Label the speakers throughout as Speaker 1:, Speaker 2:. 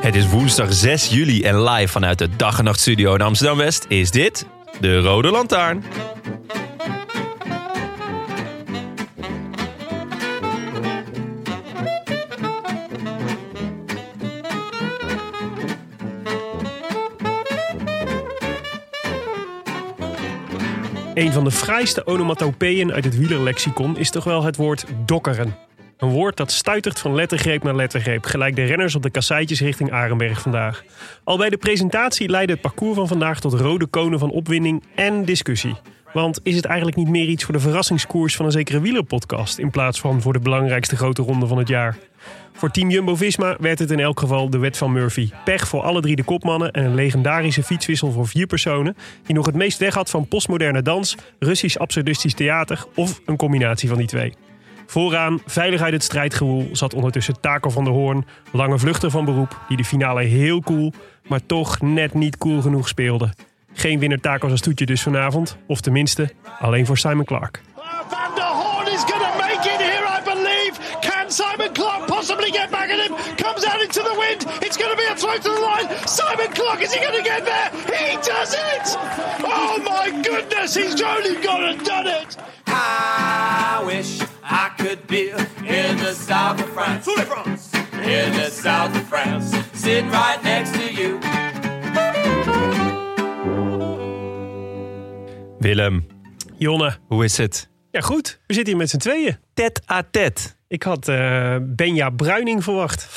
Speaker 1: Het is woensdag 6 juli en live vanuit de Dag en Nacht Studio in Amsterdam West is dit de Rode Lantaarn.
Speaker 2: Een van de fraaiste onomatopeeën uit het wielerlexicon is toch wel het woord dokkeren. Een woord dat stuitert van lettergreep naar lettergreep, gelijk de renners op de kasseitjes richting Arenberg vandaag. Al bij de presentatie leidde het parcours van vandaag tot rode konen van opwinding en discussie. Want is het eigenlijk niet meer iets voor de verrassingskoers van een zekere wielerpodcast in plaats van voor de belangrijkste grote ronde van het jaar? Voor team Jumbo-Visma werd het in elk geval de wet van Murphy. Pech voor alle drie de kopmannen en een legendarische fietswissel voor vier personen... die nog het meest weg had van postmoderne dans, Russisch absurdistisch theater... of een combinatie van die twee. Vooraan, veilig uit het strijdgewoel, zat ondertussen Taco van der Hoorn... lange vluchter van beroep, die de finale heel cool... maar toch net niet cool genoeg speelde. Geen winnaar Taco's als toetje dus vanavond. Of tenminste, alleen voor Simon Clark.
Speaker 3: Uh, Van der Horn is going to make it here, I believe. Can Simon Clark possibly get back at him? Comes out into the wind. It's going to be a throw to the line. Simon Clark, is he going to get there? He does it! Oh my goodness, he's only gone and done it!
Speaker 4: I wish I could be in the south of France. In the south of France. Sitting right next to you.
Speaker 1: Willem,
Speaker 2: Jonne,
Speaker 1: hoe is het?
Speaker 2: ja goed, we zitten hier met z'n tweeën.
Speaker 1: Tet à tet.
Speaker 2: Ik had eh, Benja Bruining verwacht.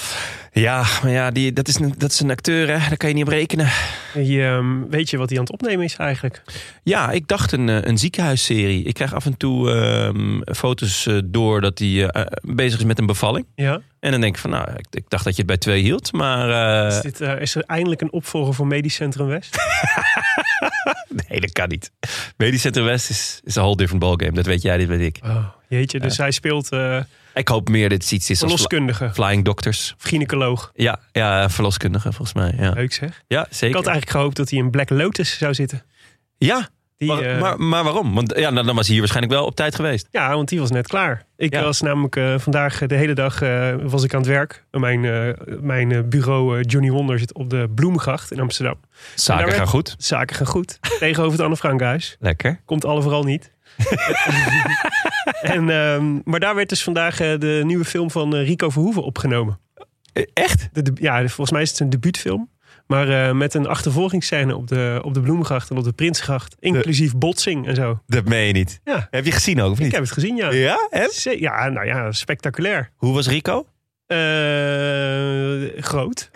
Speaker 1: Ja, maar ja, die, dat, is een, dat is een acteur, hè? daar kan je niet op rekenen.
Speaker 2: Die, ehm, weet je wat hij aan het opnemen is eigenlijk?
Speaker 1: Ja, ik dacht een, eh, een ziekenhuisserie. Ik krijg af en toe ehm, foto's eh, door dat hij eh, eh, bezig is met een bevalling.
Speaker 2: Ja.
Speaker 1: En dan denk ik van, nou, ik, ik dacht dat je het bij twee hield. Maar eh,
Speaker 2: Is, dit, eh, is er eindelijk een opvolger voor Medisch Centrum West?
Speaker 1: nee, dat kan niet. Medisch Center West is, is een whole different ballgame. Dat weet jij, dit weet ik.
Speaker 2: Oh, jeetje, dus hij speelt eh
Speaker 1: Ik hoop meer dat het iets is als fly-
Speaker 2: verloskundige of
Speaker 1: flying doctors.
Speaker 2: gynaecoloog.
Speaker 1: Ja, ja, verloskundige volgens mij. Ja,
Speaker 2: Leuk zeg.
Speaker 1: ja
Speaker 2: Ik
Speaker 1: zeker.
Speaker 2: had eigenlijk gehoopt dat hij in Black Lotus zou zitten.
Speaker 1: Ja,
Speaker 2: Die,
Speaker 1: maar,
Speaker 2: eh,
Speaker 1: maar, maar waarom? Want ja, nou, dan was hij hier waarschijnlijk wel op tijd geweest.
Speaker 2: Ja, want die was net klaar. Ik
Speaker 1: Ja.
Speaker 2: was namelijk eh, vandaag eh, de hele dag eh, was ik aan het werk. Mijn, eh, mijn eh, bureau eh, Johnny Wonder zit op de Bloemgracht in Amsterdam.
Speaker 1: Zaken
Speaker 2: daar
Speaker 1: gaan
Speaker 2: werd-
Speaker 1: goed.
Speaker 2: Zaken gaan goed. Tegenover het Anne Frankhuis.
Speaker 1: Lekker.
Speaker 2: Komt alle vooral niet. en, ehm, maar daar werd dus vandaag eh, de nieuwe film van eh, Rico Verhoeven opgenomen. E,
Speaker 1: Eh, Echt?
Speaker 2: De, debu- ja, volgens mij is het een debuutfilm. Maar eh, met een achtervolgingsscène op de, op de Bloemengracht en op de Prinsgracht. Inclusief botsing en zo.
Speaker 1: Dat meen je niet.
Speaker 2: Ja.
Speaker 1: Heb je gezien ook, of
Speaker 2: Ik
Speaker 1: niet?
Speaker 2: heb het gezien, ja.
Speaker 1: Ja, en?
Speaker 2: Ze- Ja, nou ja, spectaculair.
Speaker 1: Hoe was Rico?
Speaker 2: Eh, groot.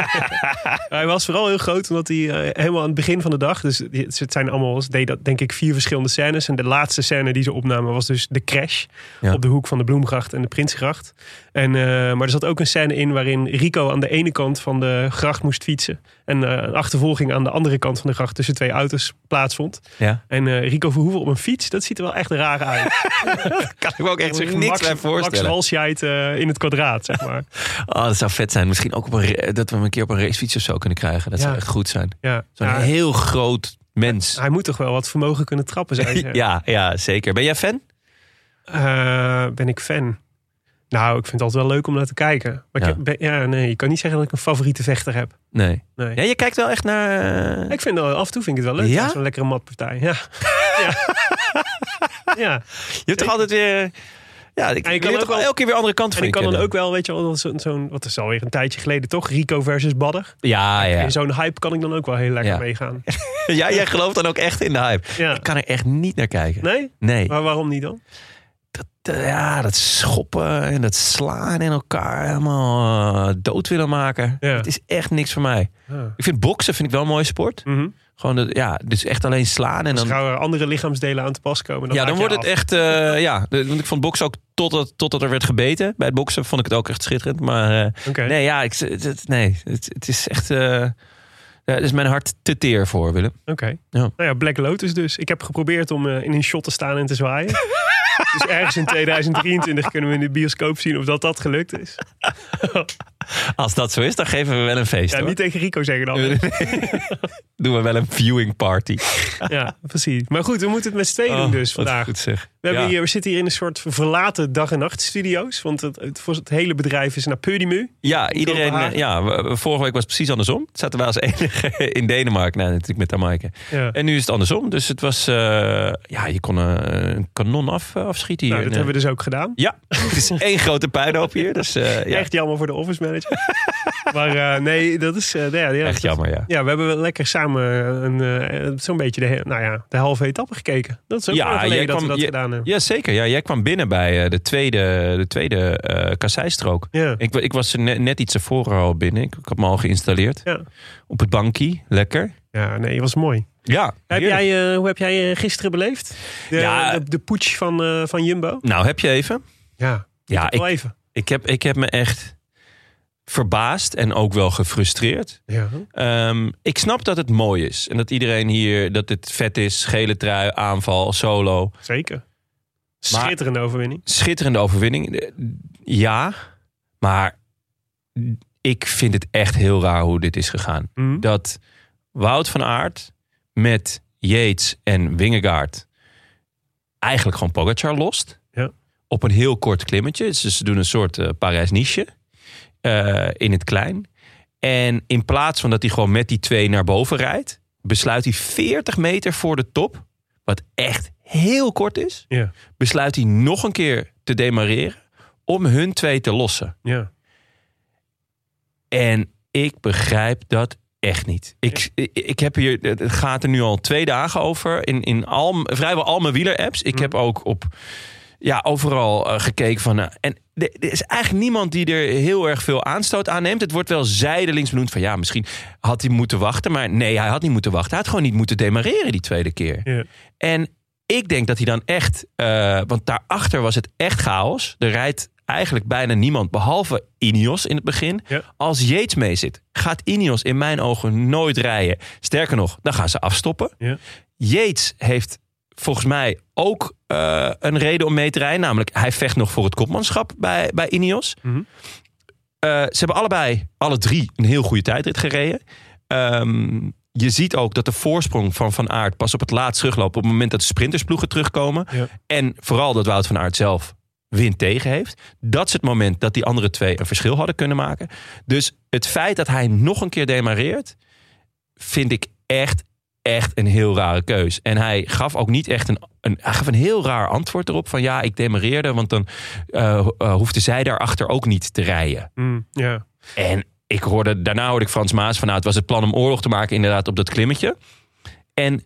Speaker 2: hij was vooral heel groot omdat hij eh, helemaal aan het begin van de dag. Dus die- het zijn allemaal, ze deden dat, denk ik, vier verschillende scènes. En de laatste scène die ze opnamen was dus de crash.
Speaker 1: Ja.
Speaker 2: Op de hoek van de Bloemgracht en de Prinsgracht. En, eh, maar er zat ook een scène in waarin Rico aan de ene kant van de gracht moest fietsen. En eh, een achtervolging aan de andere kant van de gracht tussen twee auto's plaatsvond.
Speaker 1: Ja.
Speaker 2: En eh, Rico Verhoeven op een fiets, dat ziet er wel echt raar uit.
Speaker 1: Kan ik me ook echt zich niks
Speaker 2: Max-
Speaker 1: bij voorstellen.
Speaker 2: Max Walscheid eh, in het kwadraat, zeg maar.
Speaker 1: Oh, dat zou vet zijn. Misschien ook op een, ra- dat we hem een keer op een racefiets of zo kunnen krijgen. Dat
Speaker 2: Ja.
Speaker 1: zou echt goed zijn.
Speaker 2: Ja.
Speaker 1: Zo'n
Speaker 2: Ja,
Speaker 1: heel groot mens.
Speaker 2: Hij moet toch wel wat vermogen kunnen trappen, zei ze.
Speaker 1: Ja, ja, zeker. Ben jij fan?
Speaker 2: Eh, ben ik fan? Nou, ik vind het altijd wel leuk om naar te kijken. Maar ja.
Speaker 1: Ja.
Speaker 2: Ik ben, ja, nee, ik kan niet zeggen dat ik een favoriete vechter heb.
Speaker 1: Nee.
Speaker 2: Nee.
Speaker 1: Ja, je kijkt wel echt naar... eh,
Speaker 2: Ik vind wel, af en toe vind ik het wel leuk.
Speaker 1: Ja?
Speaker 2: Zo'n lekkere matpartij. Ja. ja. ja.
Speaker 1: Je hebt toch altijd weer... Ja, ik
Speaker 2: En
Speaker 1: leer
Speaker 2: je kan ook
Speaker 1: toch
Speaker 2: wel-
Speaker 1: elke keer weer andere kant
Speaker 2: En
Speaker 1: van
Speaker 2: ik kan dan
Speaker 1: kennen.
Speaker 2: ook wel, weet je wel, dat zo'n, zo'n, wat is alweer een tijdje geleden toch? Rico versus Badder.
Speaker 1: Ja, ja.
Speaker 2: In zo'n hype kan ik dan ook wel heel lekker
Speaker 1: Ja.
Speaker 2: meegaan.
Speaker 1: ja. Jij gelooft dan ook echt in de hype.
Speaker 2: Ja.
Speaker 1: Ik kan er echt niet naar kijken.
Speaker 2: Nee? Oh.
Speaker 1: Nee,
Speaker 2: Maar waarom niet dan?
Speaker 1: dat, dat, ja, dat schoppen en dat slaan en elkaar helemaal eh, dood willen maken.
Speaker 2: Ja.
Speaker 1: Het is echt niks voor mij.
Speaker 2: Ja.
Speaker 1: Ik vind boksen vind ik wel een mooie sport.
Speaker 2: Mhm.
Speaker 1: Gewoon dat, ja, dus echt alleen slaan en
Speaker 2: Als
Speaker 1: dan...
Speaker 2: er andere lichaamsdelen aan te pas komen. Dan
Speaker 1: ja,
Speaker 2: haak
Speaker 1: dan
Speaker 2: je
Speaker 1: wordt
Speaker 2: af.
Speaker 1: het echt... eh, ja, de- want ik vond boksen ook totdat, totdat er werd gebeten. Bij het boksen vond ik het ook echt schitterend. Maar eh,
Speaker 2: Oké.
Speaker 1: nee, ja, ik, het, het- nee, het, het is echt... eh ja, het is mijn hart te teer voor, Willem.
Speaker 2: Oké.
Speaker 1: Ja.
Speaker 2: Nou ja, Black Lotus dus. Ik heb geprobeerd om eh, in een shot te staan en te zwaaien. dus ergens in 2023 kunnen we in de bioscoop zien of dat dat gelukt is.
Speaker 1: Als dat zo is, dan geven we wel een feest.
Speaker 2: Ja,
Speaker 1: hoor.
Speaker 2: niet tegen Rico zeggen dan.
Speaker 1: Doen we wel een viewing party.
Speaker 2: ja, precies. Maar goed, we moeten het met z'n tweeën
Speaker 1: Oh,
Speaker 2: doen dus
Speaker 1: wat
Speaker 2: vandaag.
Speaker 1: Goed zeg.
Speaker 2: We, hebben
Speaker 1: Ja.
Speaker 2: hier, we zitten hier in een soort verlaten dag- en nachtstudio's. Want het, het, voor het hele bedrijf is naar Purdimu.
Speaker 1: Ja, iedereen. eh,
Speaker 2: Kopenhagen.
Speaker 1: Ja, we- we- vorige week was het precies andersom. Het zaten wij als enige in Denemarken. Nou, natuurlijk met Jamaica.
Speaker 2: Ja.
Speaker 1: En nu is het andersom. Dus het was. eh, ja, je kon eh, een kanon af, afschieten hier.
Speaker 2: Nou, dat
Speaker 1: En, eh,
Speaker 2: hebben we dus ook gedaan.
Speaker 1: Ja, het is één grote puinhoop hier. Dus eh, ja, echt,
Speaker 2: Echt jammer voor de office manager. maar eh, nee, dat is... eh, ja, ja, dat-
Speaker 1: jammer. Ja.
Speaker 2: Ja, we hebben wel lekker samen een, eh, zo'n beetje de, he- nou ja, de halve etappe gekeken. Dat is ook
Speaker 1: Ja,
Speaker 2: ja,
Speaker 1: jij
Speaker 2: geleden dat
Speaker 1: kwam-
Speaker 2: we dat
Speaker 1: je-
Speaker 2: gedaan hebben.
Speaker 1: Ja, zeker. Ja, jij kwam binnen bij eh, de tweede, de tweede eh kasseistrook.
Speaker 2: Ja.
Speaker 1: Ik, wa- ik was er ne- net iets ervoor al binnen. Ik, ik had me al geïnstalleerd.
Speaker 2: Ja.
Speaker 1: Op het bankie. Lekker.
Speaker 2: Ja, nee, het was mooi.
Speaker 1: Ja.
Speaker 2: Heb
Speaker 1: heerlijk.
Speaker 2: jij, eh, hoe heb jij eh, gisteren beleefd? De,
Speaker 1: Ja.
Speaker 2: de, de putsch van, eh, van Jumbo?
Speaker 1: Nou, heb je even?
Speaker 2: Ja,
Speaker 1: Ja,
Speaker 2: wel
Speaker 1: ik,
Speaker 2: even.
Speaker 1: ik, heb, ik heb me echt verbaasd en ook wel gefrustreerd.
Speaker 2: Ja.
Speaker 1: Ehm, ik snap dat het mooi is. En dat iedereen hier, dat het vet is. Gele trui, aanval, solo.
Speaker 2: Zeker. Schitterende overwinning.
Speaker 1: Schitterende overwinning. Eh, Ja, maar ik vind het echt heel raar hoe dit is gegaan.
Speaker 2: Mhm.
Speaker 1: dat Wout van Aert met Yates en Wingegaard eigenlijk gewoon Pogacar lost.
Speaker 2: Ja.
Speaker 1: Op een heel kort klimmetje. Dus ze doen een soort eh, Parijs-Niche eh, in het klein. En in plaats van dat hij gewoon met die twee naar boven rijdt, besluit hij 40 meter voor de top, wat echt heel kort is,
Speaker 2: Ja,
Speaker 1: besluit hij nog een keer te demareren om hun twee te lossen.
Speaker 2: ja.
Speaker 1: En ik begrijp dat echt niet. Ik, ik, ik heb hier, het gaat er nu al twee dagen over. In, in al, m- vrijwel al mijn wieler-apps. Ik heb ook op, ja, overal eh, gekeken van. eh, en er, er is eigenlijk niemand die er heel erg veel aanstoot aan neemt. Het wordt wel zijdelings benoemd van ja, misschien had hij moeten wachten. Maar nee, hij had niet moeten wachten. Hij had gewoon niet moeten demareren die tweede keer.
Speaker 2: ja.
Speaker 1: En ik denk dat hij dan echt, eh, want daarachter was het echt chaos. Er rijdt eigenlijk bijna niemand, behalve Ineos in het begin.
Speaker 2: Ja.
Speaker 1: Als Yates mee zit, gaat Ineos in mijn ogen nooit rijden. Sterker nog, dan gaan ze afstoppen.
Speaker 2: Ja.
Speaker 1: Yates heeft volgens mij ook eh, een reden om mee te rijden. Namelijk, hij vecht nog voor het kopmanschap bij, bij Ineos.
Speaker 2: Mhm.
Speaker 1: Eh, ze hebben allebei, alle drie, een heel goede tijdrit gereden. Ehm, je ziet ook dat de voorsprong van Van Aert pas op het laatst terugloopt. Op het moment dat de sprintersploegen terugkomen.
Speaker 2: Ja.
Speaker 1: En vooral dat Wout van Aert zelf win tegen heeft. Dat is het moment dat die andere twee een verschil hadden kunnen maken. Dus het feit dat hij nog een keer demareert... vind ik echt, echt een heel rare keus. En hij gaf ook niet echt een... een hij gaf een heel raar antwoord erop. Van ja, ik demareerde, want dan eh, ho- eh, hoefde zij daarachter ook niet te rijden.
Speaker 2: Mm, ja.
Speaker 1: En ik hoorde, daarna hoorde ik Frans Maas van, nou, het was het plan om oorlog te maken inderdaad op dat klimmetje. En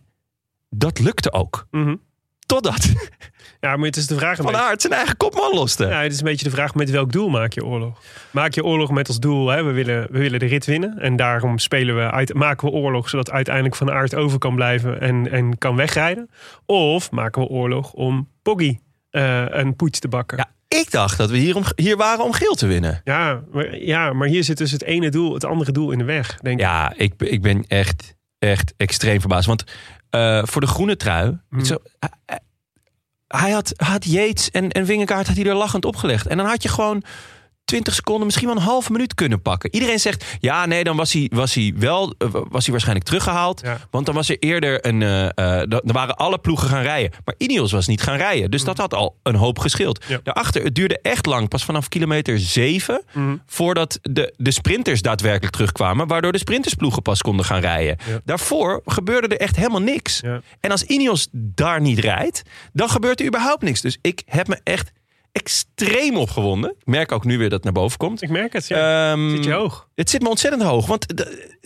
Speaker 1: dat lukte ook.
Speaker 2: Mhm.
Speaker 1: Totdat
Speaker 2: ja, maar het is de vraag een
Speaker 1: Van
Speaker 2: beetje-
Speaker 1: Aert zijn eigen kopman loste.
Speaker 2: Ja, het is een beetje de vraag met welk doel maak je oorlog? Maak je oorlog met als doel, hè? We, willen, we willen de rit winnen. En daarom spelen we uit, maken we oorlog zodat uiteindelijk Van Aert over kan blijven en, en kan wegrijden. Of maken we oorlog om Poggy eh, een poets te bakken. Ja.
Speaker 1: Ja, ik dacht dat we hier, om, hier waren om geel te winnen.
Speaker 2: maar, ja, maar hier zit dus het ene doel, het andere doel in de weg. Denk ik.
Speaker 1: Ja, ik, ik ben echt, echt extreem verbaasd. Want eh, voor de groene trui,
Speaker 2: Hmm.
Speaker 1: zo, hij- hij- hij had, had Yates en, en Wingegaard had hij er lachend opgelegd. En dan had je gewoon 20 seconden, misschien wel een halve minuut kunnen pakken. Iedereen zegt, ja nee, dan was hij, was hij wel, eh, was hij waarschijnlijk teruggehaald.
Speaker 2: Ja.
Speaker 1: Want dan was er eerder een. eh, eh, da- dan waren alle ploegen gaan rijden. Maar Ineos was niet gaan rijden. Dus dat had al een hoop geschild.
Speaker 2: Mm. Ja.
Speaker 1: Daarachter, het duurde echt lang. Pas vanaf kilometer 7.
Speaker 2: Mm.
Speaker 1: Voordat de, de sprinters daadwerkelijk terugkwamen. Waardoor de sprintersploegen pas konden gaan rijden.
Speaker 2: Ja.
Speaker 1: Daarvoor gebeurde er echt helemaal niks.
Speaker 2: Ja.
Speaker 1: En als Ineos daar niet rijdt. dan gebeurt er überhaupt niks. Dus ik heb me echt extreem opgewonden. Ik merk ook nu weer dat het naar boven komt.
Speaker 2: Ik merk het, ja.
Speaker 1: Ehm,
Speaker 2: zit je hoog.
Speaker 1: het zit me ontzettend hoog. Want de-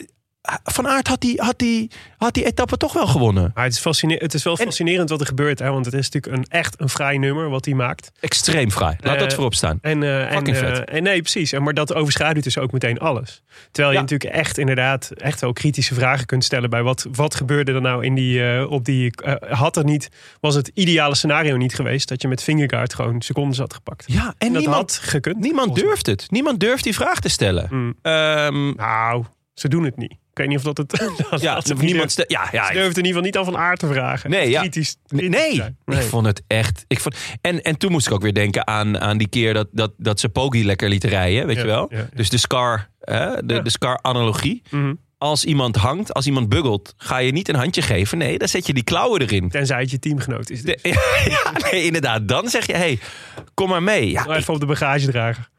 Speaker 1: Van Aert had die, had, die, had die etappe toch wel gewonnen.
Speaker 2: Maar het is, fascine- het is wel fascinerend wat er gebeurt. Hè? Want het is natuurlijk een, echt een vrij nummer wat hij maakt.
Speaker 1: Extreem fraai. Laat
Speaker 2: Eh,
Speaker 1: dat voorop staan.
Speaker 2: En, eh, en,
Speaker 1: Fucking
Speaker 2: eh,
Speaker 1: vet.
Speaker 2: en nee, precies. En Maar dat overschaduwt dus ook meteen alles. Terwijl je
Speaker 1: Ja.
Speaker 2: natuurlijk echt inderdaad echt wel kritische vragen kunt stellen bij wat, wat gebeurde er nou in die, eh, op die. eh, had er niet, was het ideale scenario niet geweest dat je met Fingergaard gewoon secondes had gepakt.
Speaker 1: Ja, en
Speaker 2: dat
Speaker 1: niemand,
Speaker 2: had gekund.
Speaker 1: niemand
Speaker 2: volgens mij.
Speaker 1: durft het. Niemand durft die vraag te stellen.
Speaker 2: Mm.
Speaker 1: Ehm,
Speaker 2: Nou, ze doen het niet. Ik weet niet of dat het. dat
Speaker 1: ja,
Speaker 2: had ze
Speaker 1: of
Speaker 2: niet
Speaker 1: niemand
Speaker 2: durven.
Speaker 1: stel- ja, ja,
Speaker 2: Ze
Speaker 1: ik-
Speaker 2: durfden in ieder geval niet aan van aard te vragen.
Speaker 1: Nee, ja.
Speaker 2: Kritisch,
Speaker 1: Nee,
Speaker 2: kritisch zijn.
Speaker 1: ik vond het echt. Ik vond, en, en toen moest ik ook weer denken aan, aan die keer dat, dat, dat ze Poggi lekker lieten rijden, weet
Speaker 2: Ja,
Speaker 1: je wel?
Speaker 2: ja, ja.
Speaker 1: Dus de Scar, hè, de,
Speaker 2: Ja.
Speaker 1: de Scar-analogie.
Speaker 2: Mhm.
Speaker 1: Als iemand hangt, als iemand buggelt, ga je niet een handje geven. Nee, dan zet je die klauwen erin.
Speaker 2: Tenzij het je teamgenoot is.
Speaker 1: De- ja, nee, inderdaad. Dan zeg je, hé, hey, kom maar mee. Ja,
Speaker 2: Maar even op de bagagedrager.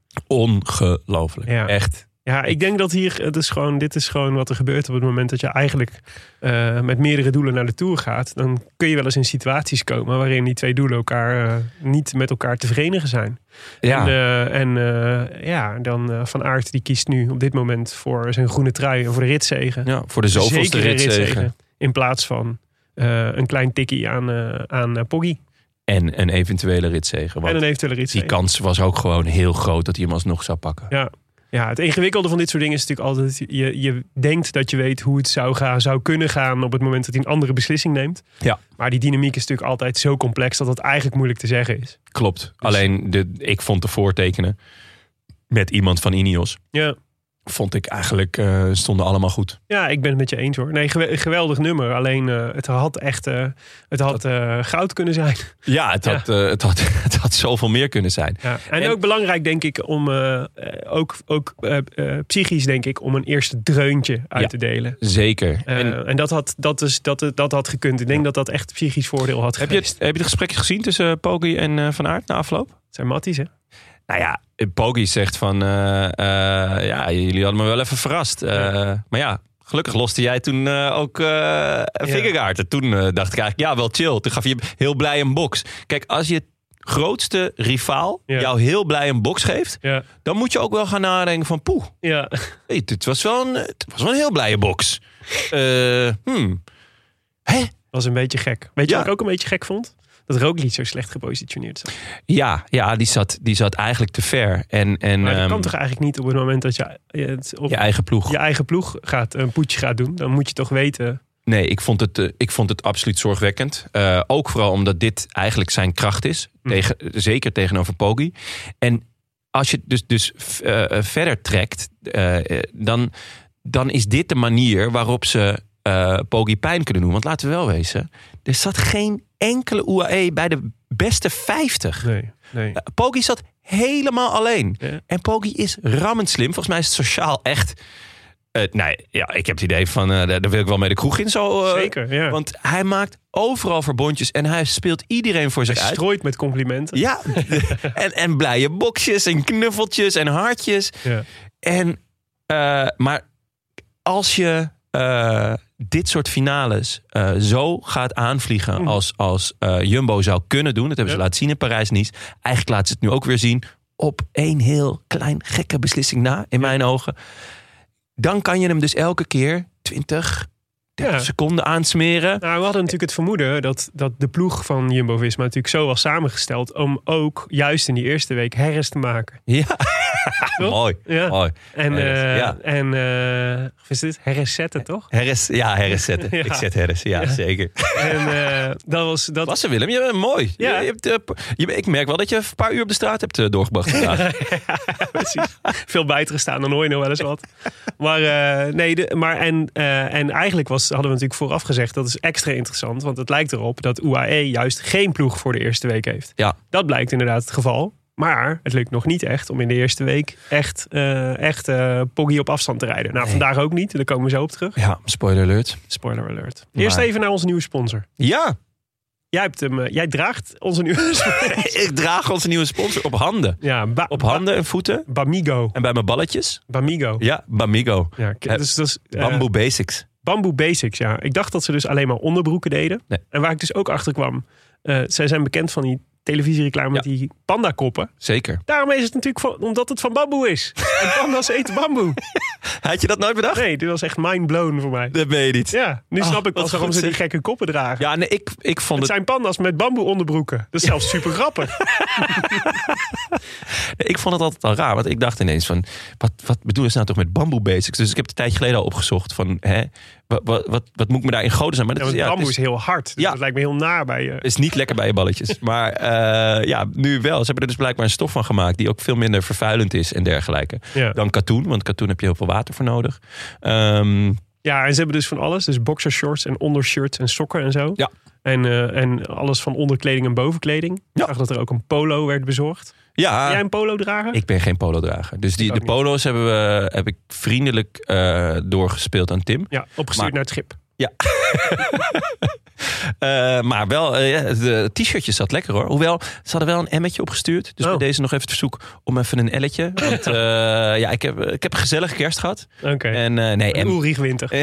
Speaker 1: ongelooflijk.
Speaker 2: Ja.
Speaker 1: Echt.
Speaker 2: Ja, ik denk dat hier, het is gewoon, dit is gewoon wat er gebeurt op het moment dat je eigenlijk eh, met meerdere doelen naar de Tour gaat. Dan kun je wel eens in situaties komen waarin die twee doelen elkaar eh, niet met elkaar te verenigen zijn.
Speaker 1: Ja.
Speaker 2: En, eh, en eh, ja, dan eh, Van Aert die kiest nu op dit moment voor zijn groene trui en voor de ritzegen.
Speaker 1: ja, voor de zoveelste
Speaker 2: Zekere
Speaker 1: ritzegen.
Speaker 2: In plaats van eh, een klein tikkie aan, eh, aan eh, Poggi
Speaker 1: En een eventuele ritzegen.
Speaker 2: en
Speaker 1: Want
Speaker 2: een eventuele
Speaker 1: die
Speaker 2: ritzegen.
Speaker 1: kans was ook gewoon heel groot dat hij hem alsnog zou pakken.
Speaker 2: Ja. ja, het ingewikkelde van dit soort dingen is natuurlijk altijd... Je, je denkt dat je weet hoe het zou, gaan, zou kunnen gaan op het moment dat hij een andere beslissing neemt.
Speaker 1: Ja.
Speaker 2: Maar die dynamiek is natuurlijk altijd zo complex dat dat eigenlijk moeilijk te zeggen is.
Speaker 1: Klopt. Alleen de, ik vond de voortekenen met iemand van Ineos.
Speaker 2: Ja,
Speaker 1: Vond ik eigenlijk eh, stonden allemaal goed.
Speaker 2: ja ik ben het met je eens hoor. Nee, gewe- geweldig nummer. Alleen eh, het had echt eh, het had, eh, goud kunnen zijn.
Speaker 1: Ja, het had, eh, het had, het had zoveel meer kunnen zijn.
Speaker 2: Ja. En,
Speaker 1: En-
Speaker 2: ook belangrijk denk ik om, eh, eh, ook, ook eh, eh, psychisch denk ik, om een eerste dreuntje uit
Speaker 1: Ja.
Speaker 2: te delen.
Speaker 1: Zeker.
Speaker 2: Eh,
Speaker 1: en
Speaker 2: en dat, had, dat, is, dat, dat had gekund. Ik denk dat dat echt psychisch voordeel had
Speaker 1: heb je,
Speaker 2: geweest.
Speaker 1: het, heb je het gesprek gezien tussen Poggi en eh, Van Aert na afloop?
Speaker 2: Het zijn matties hè?
Speaker 1: Nou ja, Poggi zegt van... eh, eh, ja, jullie hadden me wel even verrast. Eh, Maar ja, gelukkig loste jij toen eh, ook eh Vingegaard. En Toen eh, dacht ik eigenlijk, ja, wel chill. Toen gaf je heel blij een box. Kijk, als je grootste rivaal
Speaker 2: Ja.
Speaker 1: jou heel blij een box geeft...
Speaker 2: Ja.
Speaker 1: dan moet je ook wel gaan nadenken van poeh,
Speaker 2: Ja,
Speaker 1: hey, dit was wel een, het was wel een heel blije box. Eh, hmm. Hè?
Speaker 2: was een beetje gek. Weet je
Speaker 1: Ja.
Speaker 2: wat ik ook een beetje gek vond? Dat Roglic zo slecht gepositioneerd zat.
Speaker 1: Ja, ja die, zat, die zat eigenlijk te ver. En, en
Speaker 2: Maar dat
Speaker 1: ehm,
Speaker 2: kan toch eigenlijk niet op het moment dat je je het op
Speaker 1: je eigen ploeg.
Speaker 2: je eigen ploeg gaat, een poetje gaat doen. Dan moet je toch weten.
Speaker 1: Nee, ik vond het, eh, ik vond het absoluut zorgwekkend. Eh, ook vooral omdat dit eigenlijk zijn kracht is.
Speaker 2: Hm.
Speaker 1: Tegen, zeker tegenover Poggi. En als je het dus, dus eh, eh, verder trekt, eh, eh, dan, dan is dit de manier waarop ze eh Poggi pijn kunnen doen. Want laten we wel wezen, er zat geen enkele UAE bij de beste 50.
Speaker 2: Nee, nee.
Speaker 1: Eh, Poggi zat helemaal alleen.
Speaker 2: Ja.
Speaker 1: En Poggi is rammend slim. Volgens mij is het sociaal echt... eh, nee, ja, ik heb het idee van, eh, daar daar wil ik wel mee de kroeg in zo. eh,
Speaker 2: Zeker, ja.
Speaker 1: Want hij maakt overal verbondjes en hij speelt iedereen voor zich
Speaker 2: Hij
Speaker 1: uit.
Speaker 2: strooit met complimenten.
Speaker 1: Ja, en, en blije boksjes en knuffeltjes en hartjes.
Speaker 2: Ja.
Speaker 1: En, eh, maar als je eh, dit soort finales eh, zo gaat aanvliegen als, als eh, Jumbo zou kunnen doen. Dat hebben ze
Speaker 2: Mm. Ja.
Speaker 1: laten zien in Parijs-Nice. Eigenlijk laten ze het nu ook weer zien. Op één heel klein gekke beslissing na, in mijn ogen. Dan kan je hem dus elke keer 20, 30
Speaker 2: Ja.
Speaker 1: seconden aansmeren.
Speaker 2: Nou, we hadden natuurlijk het vermoeden dat, dat de ploeg van Jumbo-Visma natuurlijk zo was samengesteld om ook juist in die eerste week herres te maken.
Speaker 1: Ja,
Speaker 2: Toch?
Speaker 1: mooi.
Speaker 2: Ja.
Speaker 1: mooi.
Speaker 2: En,
Speaker 1: Herres,
Speaker 2: eh,
Speaker 1: ja.
Speaker 2: en eh, of is dit herres zetten, toch?
Speaker 1: Harris, ja, Harris zetten.
Speaker 2: Ja.
Speaker 1: Ik zet Harris, ja, zeker.
Speaker 2: en eh, dat was dat.
Speaker 1: Klasse Willem, je bent mooi.
Speaker 2: Ja.
Speaker 1: Je, je hebt, eh, p- je- ik merk wel dat je een paar uur op de straat hebt eh, doorgebracht vandaag.
Speaker 2: precies. Veel bijter staan, dan hoor je nog wel eens wat. Maar, eh, nee, de, maar en, eh, en eigenlijk was, hadden we natuurlijk vooraf gezegd... dat is extra interessant, want het lijkt erop... dat UAE juist geen ploeg voor de eerste week heeft.
Speaker 1: Ja.
Speaker 2: Dat blijkt inderdaad het geval. Maar het lukt nog niet echt om in de eerste week... echt, eh echt eh, Poggi op afstand te rijden. Nou, vandaag ook niet. Daar komen we zo op terug.
Speaker 1: Ja, spoiler alert.
Speaker 2: Spoiler alert. Eerst
Speaker 1: Maar-
Speaker 2: even naar onze nieuwe sponsor.
Speaker 1: Ja,
Speaker 2: Jij, hebt hem, eh, jij draagt onze nieuwe sponsor.
Speaker 1: ik draag onze nieuwe sponsor op handen.
Speaker 2: Ja, Ba-
Speaker 1: Op handen en voeten.
Speaker 2: Ba- Bamigo.
Speaker 1: En bij mijn balletjes.
Speaker 2: Bamigo.
Speaker 1: Ja, Bamigo.
Speaker 2: Ja, k-
Speaker 1: Eh,
Speaker 2: dus, dat is, eh,
Speaker 1: Bamboo Basics.
Speaker 2: Bamboe Basics, ja. Ik dacht dat ze dus alleen maar onderbroeken deden.
Speaker 1: Nee.
Speaker 2: En waar ik dus ook achter kwam. eh, zij zijn bekend van die televisiereclame met die pandakoppen.
Speaker 1: Zeker.
Speaker 2: Daarom is het natuurlijk van, omdat het van bamboe is. En panda's eten bamboe.
Speaker 1: Had je dat nooit bedacht?
Speaker 2: Nee, dit was echt mind blown voor mij.
Speaker 1: Dat ben je niet.
Speaker 2: Ja, nu snap ik
Speaker 1: wat
Speaker 2: pas waarom
Speaker 1: Ah, goed,
Speaker 2: ze die
Speaker 1: zeg.
Speaker 2: gekke koppen dragen.
Speaker 1: Ja, nee, ik, ik vond het,
Speaker 2: Het zijn pandas met bamboe onderbroeken. Dat is zelfs super grappig.
Speaker 1: ik vond het altijd al raar. Want ik dacht ineens van, wat, wat bedoelen ze nou toch met bamboe basics? Dus ik heb het een tijdje geleden al opgezocht van, hè, wat, wat, wat, wat moet ik me daarin goden zijn? Maar
Speaker 2: Ja,
Speaker 1: dat
Speaker 2: want
Speaker 1: is, ja, het
Speaker 2: bamboe
Speaker 1: is-
Speaker 2: is heel hard. Dus
Speaker 1: Ja.
Speaker 2: Dat lijkt me heel naar bij je.
Speaker 1: is niet lekker bij je balletjes. Maar eh, ja, nu wel. Ze hebben er dus blijkbaar een stof van gemaakt die ook veel minder vervuilend is en dergelijke.
Speaker 2: Ja.
Speaker 1: Dan katoen, want katoen heb je heel veel water voor nodig. Ehm,
Speaker 2: Ja, en ze hebben dus van alles. Dus boxershorts en ondershirts en sokken en zo.
Speaker 1: Ja.
Speaker 2: En, eh, en alles van onderkleding en bovenkleding. Ik
Speaker 1: Ja.
Speaker 2: zag dat er ook een polo werd bezorgd.
Speaker 1: ja,
Speaker 2: Wil jij een polo dragen?
Speaker 1: ik ben geen polodrager. Dus die,
Speaker 2: Ik ook
Speaker 1: de polo's hebben we, heb ik vriendelijk eh, doorgespeeld aan Tim.
Speaker 2: Ja, opgestuurd
Speaker 1: Maar-
Speaker 2: naar het schip.
Speaker 1: Eh, maar wel, eh, ja, de t-shirtje zat lekker hoor. Hoewel, ze hadden wel een emmetje opgestuurd. Dus
Speaker 2: Oh.
Speaker 1: bij deze nog even het verzoek om even een elletje. Want eh, ja, ik heb, ik heb een gezellige kerst gehad.
Speaker 2: Oké.
Speaker 1: En eh, nee,
Speaker 2: En
Speaker 1: em,
Speaker 2: Ulrich Winter.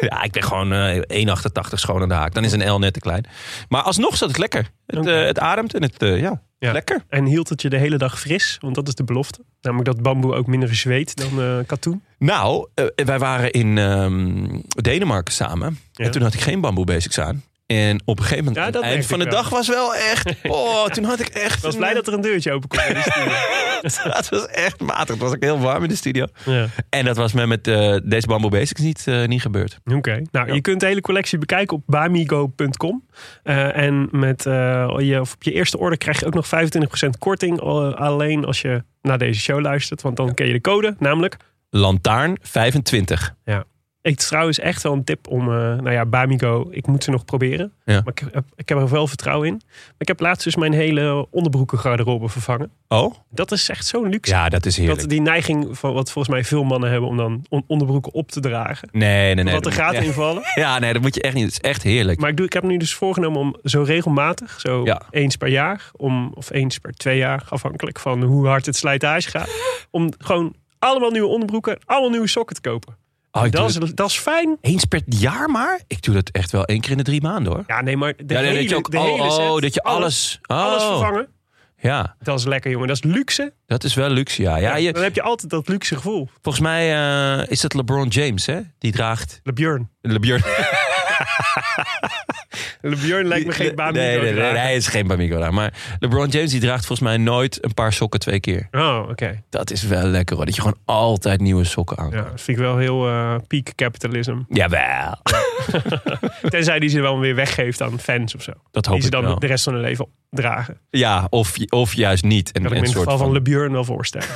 Speaker 1: ja, ik ben gewoon eh 1,88 schoon aan de haak. Dan is een L net te klein. Maar alsnog zat het lekker. Het,
Speaker 2: Oké.
Speaker 1: eh, het ademt en het, eh, ja,
Speaker 2: Ja.
Speaker 1: lekker.
Speaker 2: En hield het je de hele dag fris? Want dat is de belofte. Namelijk dat bamboe ook minder zweet dan eh, katoen.
Speaker 1: Nou, eh, wij waren in ehm, Denemarken samen.
Speaker 2: Ja.
Speaker 1: En toen had ik geen bamboe basics aan. En op een gegeven moment,
Speaker 2: Ja,
Speaker 1: aan het
Speaker 2: dat
Speaker 1: eind
Speaker 2: merkte
Speaker 1: van de
Speaker 2: ik wel.
Speaker 1: dag was wel echt... Oh, toen had ik echt...
Speaker 2: Ik was blij dat er een deurtje open kon. in de studio.
Speaker 1: Dat was echt matig. Het was ook heel warm in de studio.
Speaker 2: ja.
Speaker 1: En dat was me met eh, deze bamboe basics niet, eh, niet gebeurd.
Speaker 2: Oké. Nou, je kunt de hele collectie bekijken op bamigo.com. Eh, en met, eh, je, of op je eerste order krijg je ook nog 25% korting. eh, alleen als je naar deze show luistert. Want dan ken je de code. Namelijk,
Speaker 1: Lantaarn 25.
Speaker 2: ik trouwens echt wel een tip om... eh, nou ja, Bamigo, ik moet ze nog proberen.
Speaker 1: Ja.
Speaker 2: Maar ik, heb- ik heb er wel vertrouwen in. Maar ik heb laatst dus mijn hele onderbroeken garderobe vervangen.
Speaker 1: Oh?
Speaker 2: Dat is echt zo'n luxe.
Speaker 1: Ja, dat is heerlijk.
Speaker 2: Dat die neiging van wat volgens mij veel mannen hebben om dan on- onderbroeken op te dragen.
Speaker 1: Nee, nee, nee.
Speaker 2: Wat er
Speaker 1: dat-
Speaker 2: gaten
Speaker 1: ja.
Speaker 2: invallen.
Speaker 1: Ja, nee, dat moet je echt niet. Het is echt heerlijk.
Speaker 2: Maar ik, doe, ik heb nu dus voorgenomen om zo regelmatig, zo
Speaker 1: Ja.
Speaker 2: eens per jaar, om, of eens per twee jaar, afhankelijk van hoe hard het slijtage gaat, om gewoon allemaal nieuwe onderbroeken, allemaal nieuwe sokken te kopen.
Speaker 1: Oh, ik doe
Speaker 2: dat, is, dat is fijn.
Speaker 1: Eens per jaar maar? Ik doe dat echt wel één keer in de drie maanden hoor.
Speaker 2: Ja, nee, maar de
Speaker 1: Ja, nee,
Speaker 2: hele,
Speaker 1: dat je ook,
Speaker 2: de
Speaker 1: oh,
Speaker 2: hele set,
Speaker 1: oh, dat je alles, oh,
Speaker 2: alles vervangen.
Speaker 1: Ja,
Speaker 2: Dat is lekker, jongen. Dat is luxe.
Speaker 1: dat is wel luxe, ja. ja, je,
Speaker 2: Dan heb je altijd dat luxe gevoel.
Speaker 1: volgens mij eh, is dat LeBron James, hè? Die draagt...
Speaker 2: Le Björn.
Speaker 1: LeBron...
Speaker 2: Le Björn lijkt me geen baan meer
Speaker 1: nee,
Speaker 2: te
Speaker 1: nee, nee,
Speaker 2: dragen.
Speaker 1: hij is geen Bamigo daar. Maar LeBron James die draagt volgens mij nooit een paar sokken twee keer.
Speaker 2: Oh, oké.
Speaker 1: Dat is wel lekker hoor. Dat je gewoon altijd nieuwe sokken aan
Speaker 2: Ja,
Speaker 1: kan.
Speaker 2: dat vind ik wel heel eh peak capitalism.
Speaker 1: Jawel.
Speaker 2: Tenzij die ze wel weer weggeeft aan fans of zo.
Speaker 1: Dat hoop
Speaker 2: die ze
Speaker 1: ik
Speaker 2: dan
Speaker 1: wel.
Speaker 2: de rest van hun leven dragen.
Speaker 1: Ja, of, of juist niet. En,
Speaker 2: Kan ik
Speaker 1: en
Speaker 2: me in het
Speaker 1: soort
Speaker 2: geval van,
Speaker 1: van-
Speaker 2: Le Björn wel voorstellen.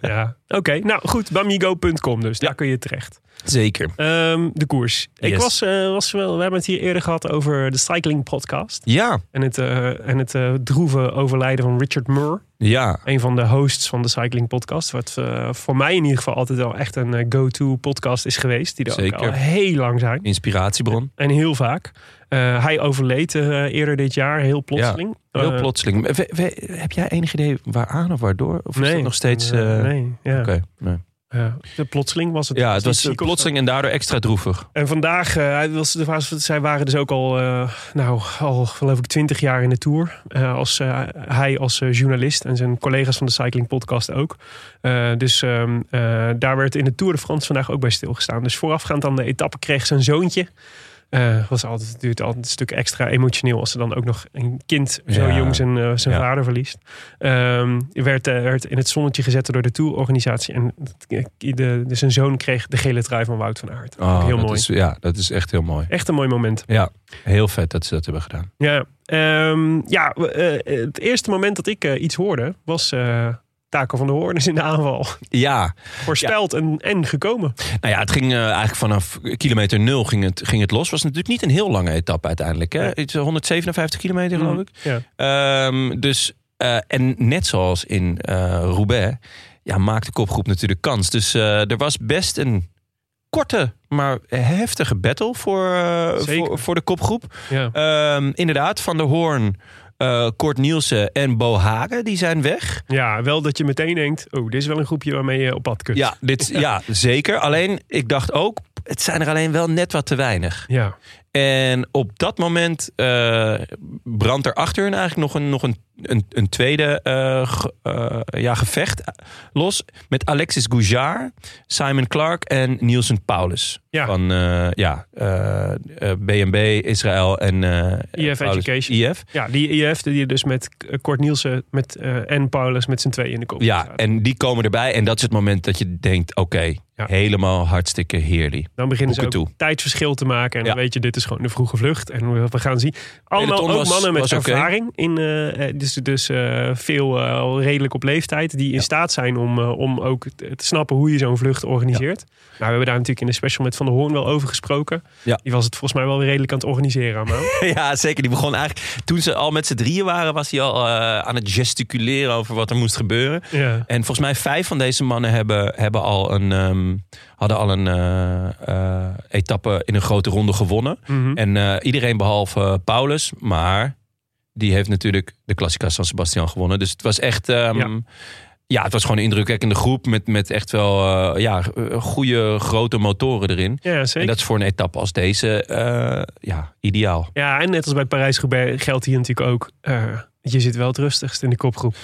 Speaker 2: ja. Oké, nou goed. Bamigo.com dus. Daar kun je terecht.
Speaker 1: Zeker.
Speaker 2: Ehm, de koers. Ik
Speaker 1: Yes.
Speaker 2: was, eh, was wel, we hebben het hier eerder gehad over de Cycling Podcast.
Speaker 1: Ja,
Speaker 2: En het, eh, en het eh, droeve overlijden van Richard Murr.
Speaker 1: ja.
Speaker 2: Een van de hosts van de Cycling Podcast. Wat eh, voor mij in ieder geval altijd wel echt een eh, go-to podcast is geweest. Die er ook
Speaker 1: Zeker.
Speaker 2: al heel lang zijn.
Speaker 1: Inspiratiebron.
Speaker 2: En heel vaak. Eh, hij overleed eh, eerder dit jaar, heel plotseling.
Speaker 1: Heel
Speaker 2: Eh,
Speaker 1: plotseling. We- we- heb jij enig idee waaraan of waardoor? Of is
Speaker 2: Nee.
Speaker 1: dat nog steeds... eh,
Speaker 2: Eh, nee, ja.
Speaker 1: Oké, nee.
Speaker 2: Ja, Eh, de plotseling was het.
Speaker 1: Ja, het was
Speaker 2: ziek
Speaker 1: eh,
Speaker 2: of zo.
Speaker 1: plotseling en daardoor extra droevig.
Speaker 2: En vandaag, eh, hij was, er was- zij waren dus ook al, eh, nou, al geloof ik twintig jaar in de Tour. Eh, als, eh, hij als eh, journalist en zijn collega's van de Cycling Podcast ook. Eh, dus ehm, eh, daar werd in de Tour de France vandaag ook bij stilgestaan. Dus voorafgaand aan de etappe kreeg zijn zoontje. eh, was altijd, het duurt altijd een stuk extra emotioneel als ze dan ook nog een kind zo
Speaker 1: Ja.
Speaker 2: jong zijn, eh, zijn
Speaker 1: Ja.
Speaker 2: vader verliest. Ehm, werd, eh, werd in het zonnetje gezet door de Tour-organisatie. En het- de, de, zijn zoon kreeg de gele trui van Wout van Aert.
Speaker 1: Oh,
Speaker 2: Ook heel
Speaker 1: dat
Speaker 2: mooi.
Speaker 1: Is, ja, dat is echt heel mooi.
Speaker 2: Echt een mooi moment.
Speaker 1: Ja, heel vet dat ze dat hebben gedaan.
Speaker 2: Ja, ehm, ja we- eh, eh, het eerste moment dat ik eh, iets hoorde was eh Taco van der Hoorn is in de aanval.
Speaker 1: Ja,
Speaker 2: Voorspeld en, en gekomen.
Speaker 1: Nou ja, het ging eh, eigenlijk vanaf kilometer nul ging het, ging het los. Was natuurlijk niet een heel lange etappe uiteindelijk. Hè? Iets, eh, 157 kilometer
Speaker 2: Mhm.
Speaker 1: geloof ik.
Speaker 2: Mm, Ja.
Speaker 1: Ehm, dus, eh, en net zoals in eh Roubaix, ja, maakt de kopgroep natuurlijk kans. Dus eh, er was best een korte, maar heftige battle voor, eh,
Speaker 2: Zeker.
Speaker 1: voor, voor de kopgroep.
Speaker 2: Ja.
Speaker 1: Ehm, inderdaad, Van der Hoorn, eh Kort Nielsen en Bo Hagen, die zijn weg.
Speaker 2: ja, wel dat je meteen denkt, oh, dit is wel een groepje waarmee je op pad kunt.
Speaker 1: Ja, dit, ja, zeker. Alleen, ik dacht ook, het zijn er alleen wel net wat te weinig.
Speaker 2: Ja,
Speaker 1: En op dat moment eh, brandt er achter hun eigenlijk nog een, nog een, een, een tweede eh, ge- eh, ja, gevecht los. Met Alexis Goujard, Simon Clark en Nielsen Paulus.
Speaker 2: Ja.
Speaker 1: Van eh, ja, eh, eh, BNB, Israël en eh,
Speaker 2: IF Education.
Speaker 1: IF.
Speaker 2: Ja, die IF die dus met eh, Kort Nielsen met, eh, en Paulus met z'n tweeën in de kop
Speaker 1: Ja,
Speaker 2: staat.
Speaker 1: en die komen erbij. En dat is het moment dat je denkt, oké,
Speaker 2: Ja.
Speaker 1: helemaal hartstikke heerlijk.
Speaker 2: Dan beginnen ze ook
Speaker 1: boeken toe.
Speaker 2: tijdsverschil te maken. En dan
Speaker 1: Ja.
Speaker 2: weet je, dit is gewoon de vroege vlucht. En we- we gaan zien. Allemaal
Speaker 1: Peloton
Speaker 2: ook
Speaker 1: was-
Speaker 2: mannen met
Speaker 1: was oké.
Speaker 2: ervaring. In, eh, eh, dus dus eh, veel eh, al redelijk op leeftijd. Die in staat zijn om, eh, om ook te te snappen hoe je zo'n vlucht organiseert. Nou, we hebben daar natuurlijk in de special met Van der Hoorn wel over gesproken.
Speaker 1: Ja.
Speaker 2: Die was het volgens mij wel redelijk aan het organiseren. allemaal.
Speaker 1: Ja, zeker. Die begon eigenlijk... Toen ze al met z'n drieën waren, was hij al eh, aan het gesticuleren over wat er moest gebeuren.
Speaker 2: ja.
Speaker 1: En volgens mij vijf van deze mannen hebben, hebben al een, ehm, hadden al een eh, eh, etappe in een grote ronde gewonnen.
Speaker 2: Mhm.
Speaker 1: En eh, iedereen behalve eh, Paulus, maar die heeft natuurlijk de Classica San Sebastian gewonnen. Dus het was echt... ehm,
Speaker 2: Ja.
Speaker 1: ja. het was gewoon een indrukwekkende groep met, met echt wel eh, ja, eh, goede grote motoren erin.
Speaker 2: ja,
Speaker 1: En
Speaker 2: zeker.
Speaker 1: dat is voor een etappe als deze eh, ja, ideaal.
Speaker 2: Ja, en net als bij Parijs-Roubaix geldt hier natuurlijk ook... eh, je zit wel het rustigst in de kopgroep.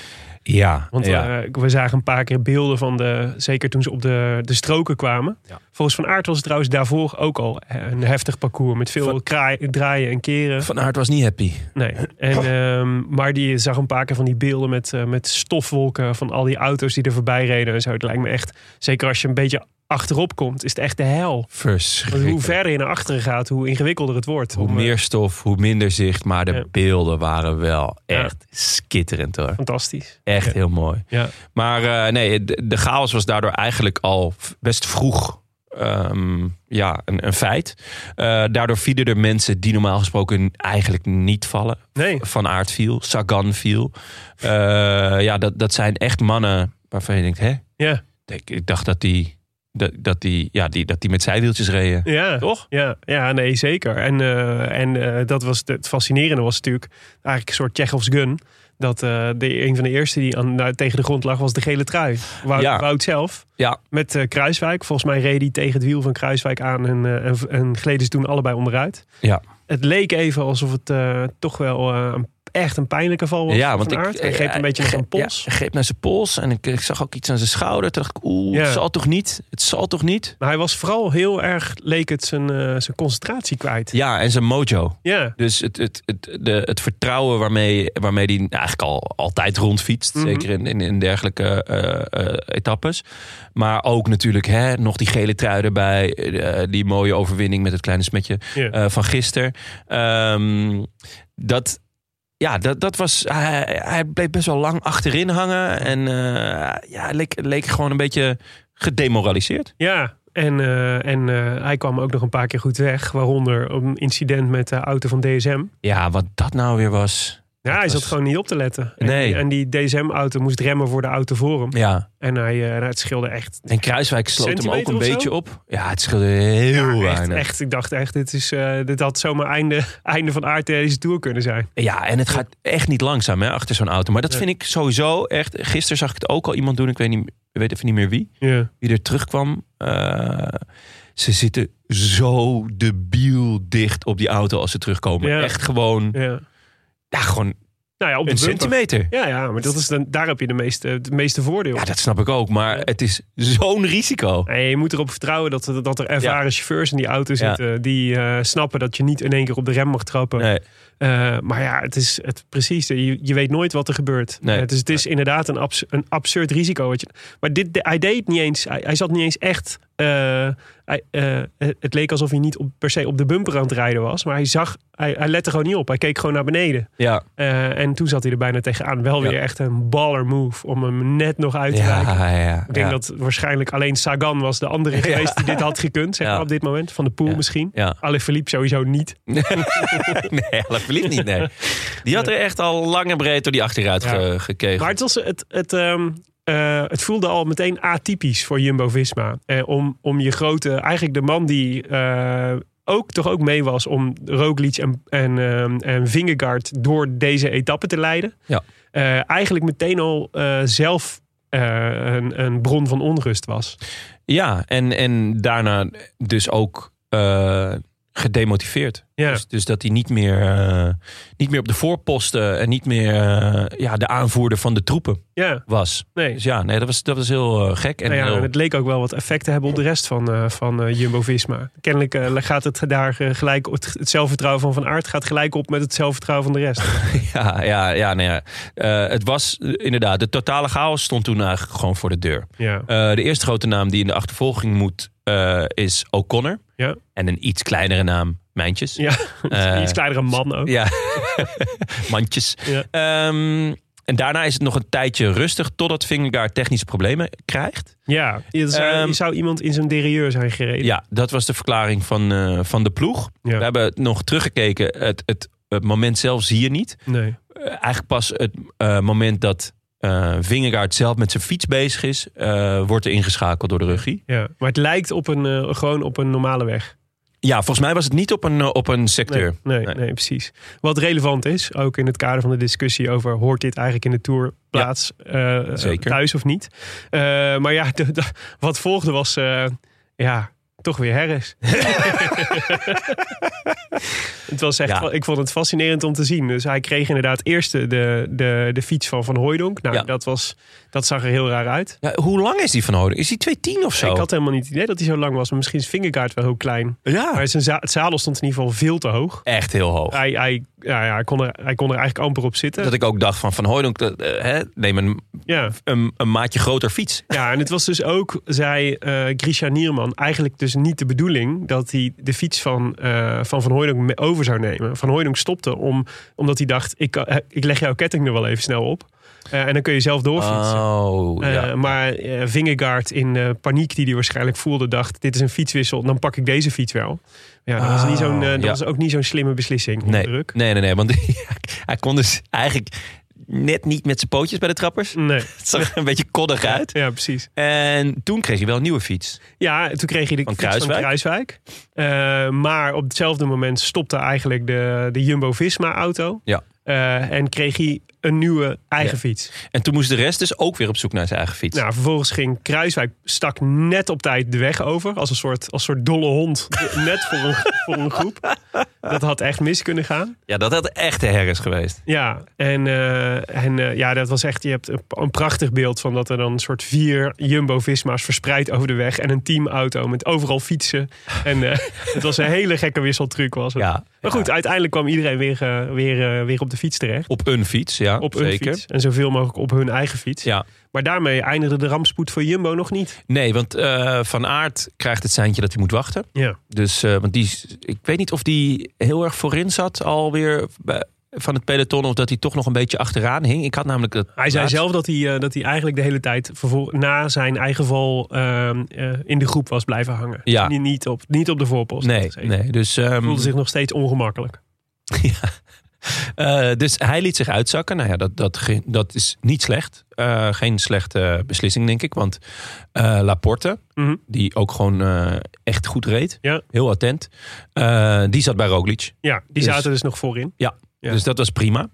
Speaker 1: Ja,
Speaker 2: Want
Speaker 1: ja.
Speaker 2: eh, we zagen een paar keer beelden van de, zeker toen ze op de, de stroken kwamen.
Speaker 1: Ja.
Speaker 2: Volgens Van Aert was het trouwens daarvoor ook al eh, een heftig parcours met veel
Speaker 1: Van-
Speaker 2: kraai- draaien en keren.
Speaker 1: Van Aert was niet happy.
Speaker 2: Nee. En, ehm, maar die zag een paar keer van die beelden met, eh, met stofwolken van al die auto's die er voorbij reden en zo. Het lijkt me echt, zeker als je een beetje achterop komt, is het echt de hel. Want
Speaker 1: Verschrikkelijk.
Speaker 2: hoe verder je naar achteren gaat, hoe ingewikkelder het wordt.
Speaker 1: Hoe
Speaker 2: Om, eh,
Speaker 1: meer stof, hoe minder zicht. Maar de
Speaker 2: Ja.
Speaker 1: beelden waren wel
Speaker 2: Ja.
Speaker 1: echt skitterend hoor.
Speaker 2: Fantastisch.
Speaker 1: Echt
Speaker 2: Ja.
Speaker 1: heel mooi.
Speaker 2: Ja.
Speaker 1: Maar eh, nee, de, de chaos was daardoor eigenlijk al v- best vroeg ehm, ja, een, een feit. Eh, daardoor vielen er mensen die normaal gesproken eigenlijk niet vallen.
Speaker 2: Nee.
Speaker 1: Van Aert viel, Sagan viel. Eh, ja, dat, dat zijn echt mannen waarvan je denkt, hè?
Speaker 2: Ja.
Speaker 1: Ik, ik dacht dat die, dat, dat die, ja, die, dat die met zijwieltjes reden.
Speaker 2: Ja.
Speaker 1: Toch?
Speaker 2: Ja, ja nee, zeker. En, eh, en eh, dat was het- het fascinerende was natuurlijk eigenlijk een soort Chekhov's gun. Dat eh, de, een van de eerste die aan, nou, tegen de grond lag was de gele trui. Wout,
Speaker 1: Ja.
Speaker 2: Wout zelf.
Speaker 1: Ja.
Speaker 2: Met eh, Kruiswijk. Volgens mij reed hij tegen het wiel van Kruiswijk aan en, eh, en, en gleden ze toen allebei onderuit.
Speaker 1: Ja.
Speaker 2: Het leek even alsof het eh, toch wel eh, een- echt een pijnlijke val was.
Speaker 1: Ja,
Speaker 2: voor
Speaker 1: want
Speaker 2: Van
Speaker 1: ik,
Speaker 2: Aert. Hij greep een
Speaker 1: eh,
Speaker 2: beetje naar zijn
Speaker 1: ik greep-
Speaker 2: pols.
Speaker 1: Ja, ik greep naar zijn pols en ik, ik zag ook iets aan zijn schouder. Toen dacht ik, oeh,
Speaker 2: Ja.
Speaker 1: het zal toch niet? Het zal toch niet?
Speaker 2: Maar hij was vooral heel erg, leek het, zijn, eh, zijn concentratie kwijt.
Speaker 1: Ja, en zijn mojo.
Speaker 2: ja.
Speaker 1: Dus het, het, het, de, het vertrouwen waarmee, waarmee die eigenlijk al altijd rondfietst.
Speaker 2: Mhm.
Speaker 1: Zeker in, in, in dergelijke eh, eh, etappes. Maar ook natuurlijk hè, nog die gele trui erbij. eh, die mooie overwinning met het kleine smetje
Speaker 2: Ja.
Speaker 1: eh, van gisteren. Ehm, dat, ja, dat, dat was. Hij, hij bleef best wel lang achterin hangen. En eh, ja, hij leek, leek gewoon een beetje gedemoraliseerd.
Speaker 2: Ja, en, eh, en eh, hij kwam ook nog een paar keer goed weg. Waaronder een incident met de auto van DSM.
Speaker 1: Ja, wat dat nou weer was.
Speaker 2: Ja, hij
Speaker 1: was-
Speaker 2: zat gewoon niet op te letten. En
Speaker 1: Nee.
Speaker 2: die- En die DSM-auto moest remmen voor de auto voor hem.
Speaker 1: Ja.
Speaker 2: En hij, eh, nou, het scheelde echt.
Speaker 1: En Kruiswijk sloot hem ook
Speaker 2: Centimeter
Speaker 1: een
Speaker 2: of zo?
Speaker 1: beetje op. Ja, het scheelde heel
Speaker 2: Ja, echt,
Speaker 1: weinig.
Speaker 2: echt, ik dacht echt, dit, is, eh, dit had zomaar einde, einde van aard deze Tour kunnen zijn.
Speaker 1: Ja, en het gaat echt niet langzaam hè, achter zo'n auto. Maar dat
Speaker 2: Nee.
Speaker 1: vind ik sowieso echt... Gisteren zag ik het ook al iemand doen. Ik weet, niet, ik weet even niet meer wie.
Speaker 2: Ja,
Speaker 1: Wie er terugkwam. Eh, ze zitten zo debiel dicht op die auto als ze terugkomen.
Speaker 2: Ja.
Speaker 1: Echt gewoon...
Speaker 2: ja.
Speaker 1: Ja, gewoon
Speaker 2: Nou ja, op de
Speaker 1: een
Speaker 2: bumper.
Speaker 1: centimeter.
Speaker 2: Ja, ja, maar dat is dan, daar heb je de meeste, het meeste voordeel.
Speaker 1: Ja, dat snap ik ook. Maar het is zo'n risico.
Speaker 2: Nee, je moet erop vertrouwen dat, dat er ervaren chauffeurs in die auto zitten. Die eh, snappen dat je niet in één keer op de rem mag trappen.
Speaker 1: Nee.
Speaker 2: Eh, maar ja, het is het, precies. Je, je weet nooit wat er gebeurt.
Speaker 1: Nee.
Speaker 2: Eh, dus het is inderdaad een, abs- een absurd risico. Wat je, maar dit, de- hij deed het niet eens. Hij, hij zat niet eens echt. eh, hij, eh, het leek alsof hij niet op, per se op de bumper aan het rijden was. Maar hij zag. Hij, hij lette gewoon niet op. Hij keek gewoon naar beneden.
Speaker 1: Ja,
Speaker 2: Eh, en toen zat hij er bijna tegenaan. Wel
Speaker 1: Ja.
Speaker 2: weer echt een baller move om hem net nog uit te raken.
Speaker 1: ja, ja.
Speaker 2: Ik denk
Speaker 1: ja.
Speaker 2: dat waarschijnlijk alleen Sagan was de andere geweest die dit had gekund. Zeg
Speaker 1: Ja.
Speaker 2: maar op dit moment. Van de pool
Speaker 1: Ja.
Speaker 2: misschien.
Speaker 1: Ja.
Speaker 2: Alle Philippe sowieso niet.
Speaker 1: Nee, Alaphilippe niet, nee. Die had er echt al lang en breed door die achteruit
Speaker 2: Ja.
Speaker 1: ge- gekegeld.
Speaker 2: Maar het, was, het, het, ehm, eh, het voelde al meteen atypisch voor Jumbo-Visma. Eh, om, om je grote, eigenlijk de man die eh, ook toch ook mee was om Roglic en, en, ehm, en Vingegaard door deze etappe te leiden.
Speaker 1: Ja.
Speaker 2: Eh, eigenlijk meteen al eh, zelf eh, een, een bron van onrust was.
Speaker 1: Ja, en, en daarna dus ook eh, gedemotiveerd.
Speaker 2: Ja.
Speaker 1: Dus, dus dat hij niet meer, eh, niet meer op de voorposten en niet meer eh, ja, de aanvoerder van de troepen
Speaker 2: Ja,
Speaker 1: was.
Speaker 2: nee.
Speaker 1: Dus ja, nee, dat was, dat was heel eh, gek. En
Speaker 2: Nou ja,
Speaker 1: heel-
Speaker 2: en het leek ook wel wat effect te hebben op de rest van, eh, van eh, Jumbo-Visma. Kennelijk eh, gaat het daar eh, gelijk... Het, het zelfvertrouwen van Van Aert gaat gelijk op met het zelfvertrouwen van de rest.
Speaker 1: Ja, ja, ja, nou ja. Eh, het was eh, inderdaad, de totale chaos stond toen eigenlijk gewoon voor de deur.
Speaker 2: Ja,
Speaker 1: Eh, de eerste grote naam die in de achtervolging moet eh, is O'Connor.
Speaker 2: Ja.
Speaker 1: En een iets kleinere naam, Mijntjes.
Speaker 2: ja.
Speaker 1: Eh,
Speaker 2: iets kleinere man ook.
Speaker 1: Ja, mandjes.
Speaker 2: Ja.
Speaker 1: Ehm, en daarna is het nog een tijdje rustig totdat Vingegaard technische problemen krijgt.
Speaker 2: Ja, je zou,
Speaker 1: Ehm,
Speaker 2: je zou iemand in zijn derieur zijn gereden.
Speaker 1: Ja, dat was de verklaring van, eh, van de ploeg.
Speaker 2: Ja.
Speaker 1: We hebben nog teruggekeken. Het, het, het moment zelf zie je niet.
Speaker 2: Nee.
Speaker 1: Eh, eigenlijk pas het eh, moment dat eh Vingegaard zelf met zijn fiets bezig is, eh, wordt er ingeschakeld door de ruggie.
Speaker 2: Ja, maar het lijkt op een, eh, gewoon op een normale weg.
Speaker 1: Ja, volgens mij was het niet op een, eh, op een secteur.
Speaker 2: Nee, nee,
Speaker 1: Nee.
Speaker 2: nee. precies. Wat relevant is, ook in het kader van de discussie over hoort dit eigenlijk in de Tour plaats eh,
Speaker 1: zeker.
Speaker 2: thuis of niet. Eh, maar ja, de- de- wat volgde was eh, ja, toch weer Harris. het was echt,
Speaker 1: Ja.
Speaker 2: Ik vond het fascinerend om te zien. Dus hij kreeg inderdaad eerst de, de, de, de fiets van Van Hooijdonk. Nou,
Speaker 1: Ja.
Speaker 2: dat, was, dat zag er heel raar uit.
Speaker 1: Ja, hoe lang is die van Hoden? Is die 2-10 of zo?
Speaker 2: Ik had helemaal niet het idee dat hij zo lang was. Maar misschien is Vingegaard wel heel klein.
Speaker 1: Ja,
Speaker 2: Maar zijn za- het zadel stond in ieder geval veel te hoog.
Speaker 1: echt heel hoog.
Speaker 2: Hij, hij, ja, ja, hij, kon, er, hij kon er eigenlijk amper op zitten.
Speaker 1: Dat ik ook dacht van Van Hooydonk, dat, eh, hè, neem een,
Speaker 2: ja.
Speaker 1: een, een maatje groter fiets.
Speaker 2: ja, en het was dus ook, zei eh Grisha Nierman, eigenlijk dus niet de bedoeling dat hij de fiets van eh, Van, van Hooydonk me- over zou nemen. Van Hooydonk stopte om, omdat hij dacht, ik, eh, ik leg jouw ketting er wel even snel op. Eh, en dan kun je zelf doorfietsen.
Speaker 1: Oh,
Speaker 2: Eh,
Speaker 1: ja.
Speaker 2: Maar eh Vingegaard in eh, paniek die hij waarschijnlijk voelde, dacht: dit is een fietswissel, dan pak ik deze fiets wel. Ja, dat was, niet zo'n, eh, dat
Speaker 1: Ah, ja.
Speaker 2: was ook niet zo'n slimme beslissing. onder
Speaker 1: Nee,
Speaker 2: Druk.
Speaker 1: nee, nee, nee. Want hij kon dus eigenlijk net niet met zijn pootjes bij de trappers.
Speaker 2: Nee.
Speaker 1: Het zag er een beetje koddig uit.
Speaker 2: Ja, precies.
Speaker 1: En toen kreeg hij wel een nieuwe fiets.
Speaker 2: Ja, toen kreeg hij de
Speaker 1: Van
Speaker 2: fiets van Kruiswijk. Eh, maar op hetzelfde moment stopte eigenlijk de, de Jumbo-Visma-auto.
Speaker 1: Ja.
Speaker 2: Eh, en kreeg hij een nieuwe eigen
Speaker 1: Ja.
Speaker 2: fiets.
Speaker 1: En toen moest de rest dus ook weer op zoek naar zijn eigen fiets.
Speaker 2: Nou, vervolgens ging Kruiswijk, stak net op tijd de weg over. Als een soort, als een soort dolle hond. net voor een, voor een groep. Dat had echt mis kunnen gaan.
Speaker 1: Ja, dat had echt de herres geweest.
Speaker 2: Ja, en, eh, en eh, ja, dat was echt. Je hebt een, een prachtig beeld van dat er dan een soort vier Jumbo-Visma's verspreid over de weg. En een teamauto met overal fietsen. En eh, het was een hele gekke wisseltruc. Was het.
Speaker 1: Ja,
Speaker 2: maar goed, uiteindelijk kwam iedereen weer, eh, weer, eh, weer op de fiets terecht.
Speaker 1: Op een fiets, ja.
Speaker 2: Op hun
Speaker 1: zeker.
Speaker 2: fiets. En zoveel mogelijk op hun eigen fiets.
Speaker 1: Ja.
Speaker 2: Maar daarmee eindigde de rampspoed voor Jumbo nog niet.
Speaker 1: Nee, want eh, Van Aert krijgt het seintje dat hij moet wachten.
Speaker 2: Ja.
Speaker 1: Dus, eh, want die, is- ik weet niet of die heel erg voorin zat alweer bij- van het peloton. Of dat hij toch nog een beetje achteraan hing. Ik had namelijk dat
Speaker 2: Hij zei
Speaker 1: laatst-
Speaker 2: zelf dat hij, eh, dat hij eigenlijk de hele tijd vervol- na zijn eigen val ehm, eh, in de groep was blijven hangen.
Speaker 1: Ja.
Speaker 2: Niet, niet, op, niet op de voorpost.
Speaker 1: Nee,
Speaker 2: Dus hij
Speaker 1: nee. Dus, ehm,
Speaker 2: voelde zich nog steeds ongemakkelijk.
Speaker 1: eh, dus hij liet zich uitzakken. Nou ja, dat, dat, ge- dat is niet slecht. Eh, geen slechte beslissing, denk ik. Want eh, Laporte,
Speaker 2: Mhm.
Speaker 1: die ook gewoon eh, echt goed reed.
Speaker 2: Ja.
Speaker 1: Heel attent. eh, die zat bij Roglic.
Speaker 2: Ja, die
Speaker 1: Dus-
Speaker 2: zaten dus nog voorin. Ja.
Speaker 1: Dus dat was prima.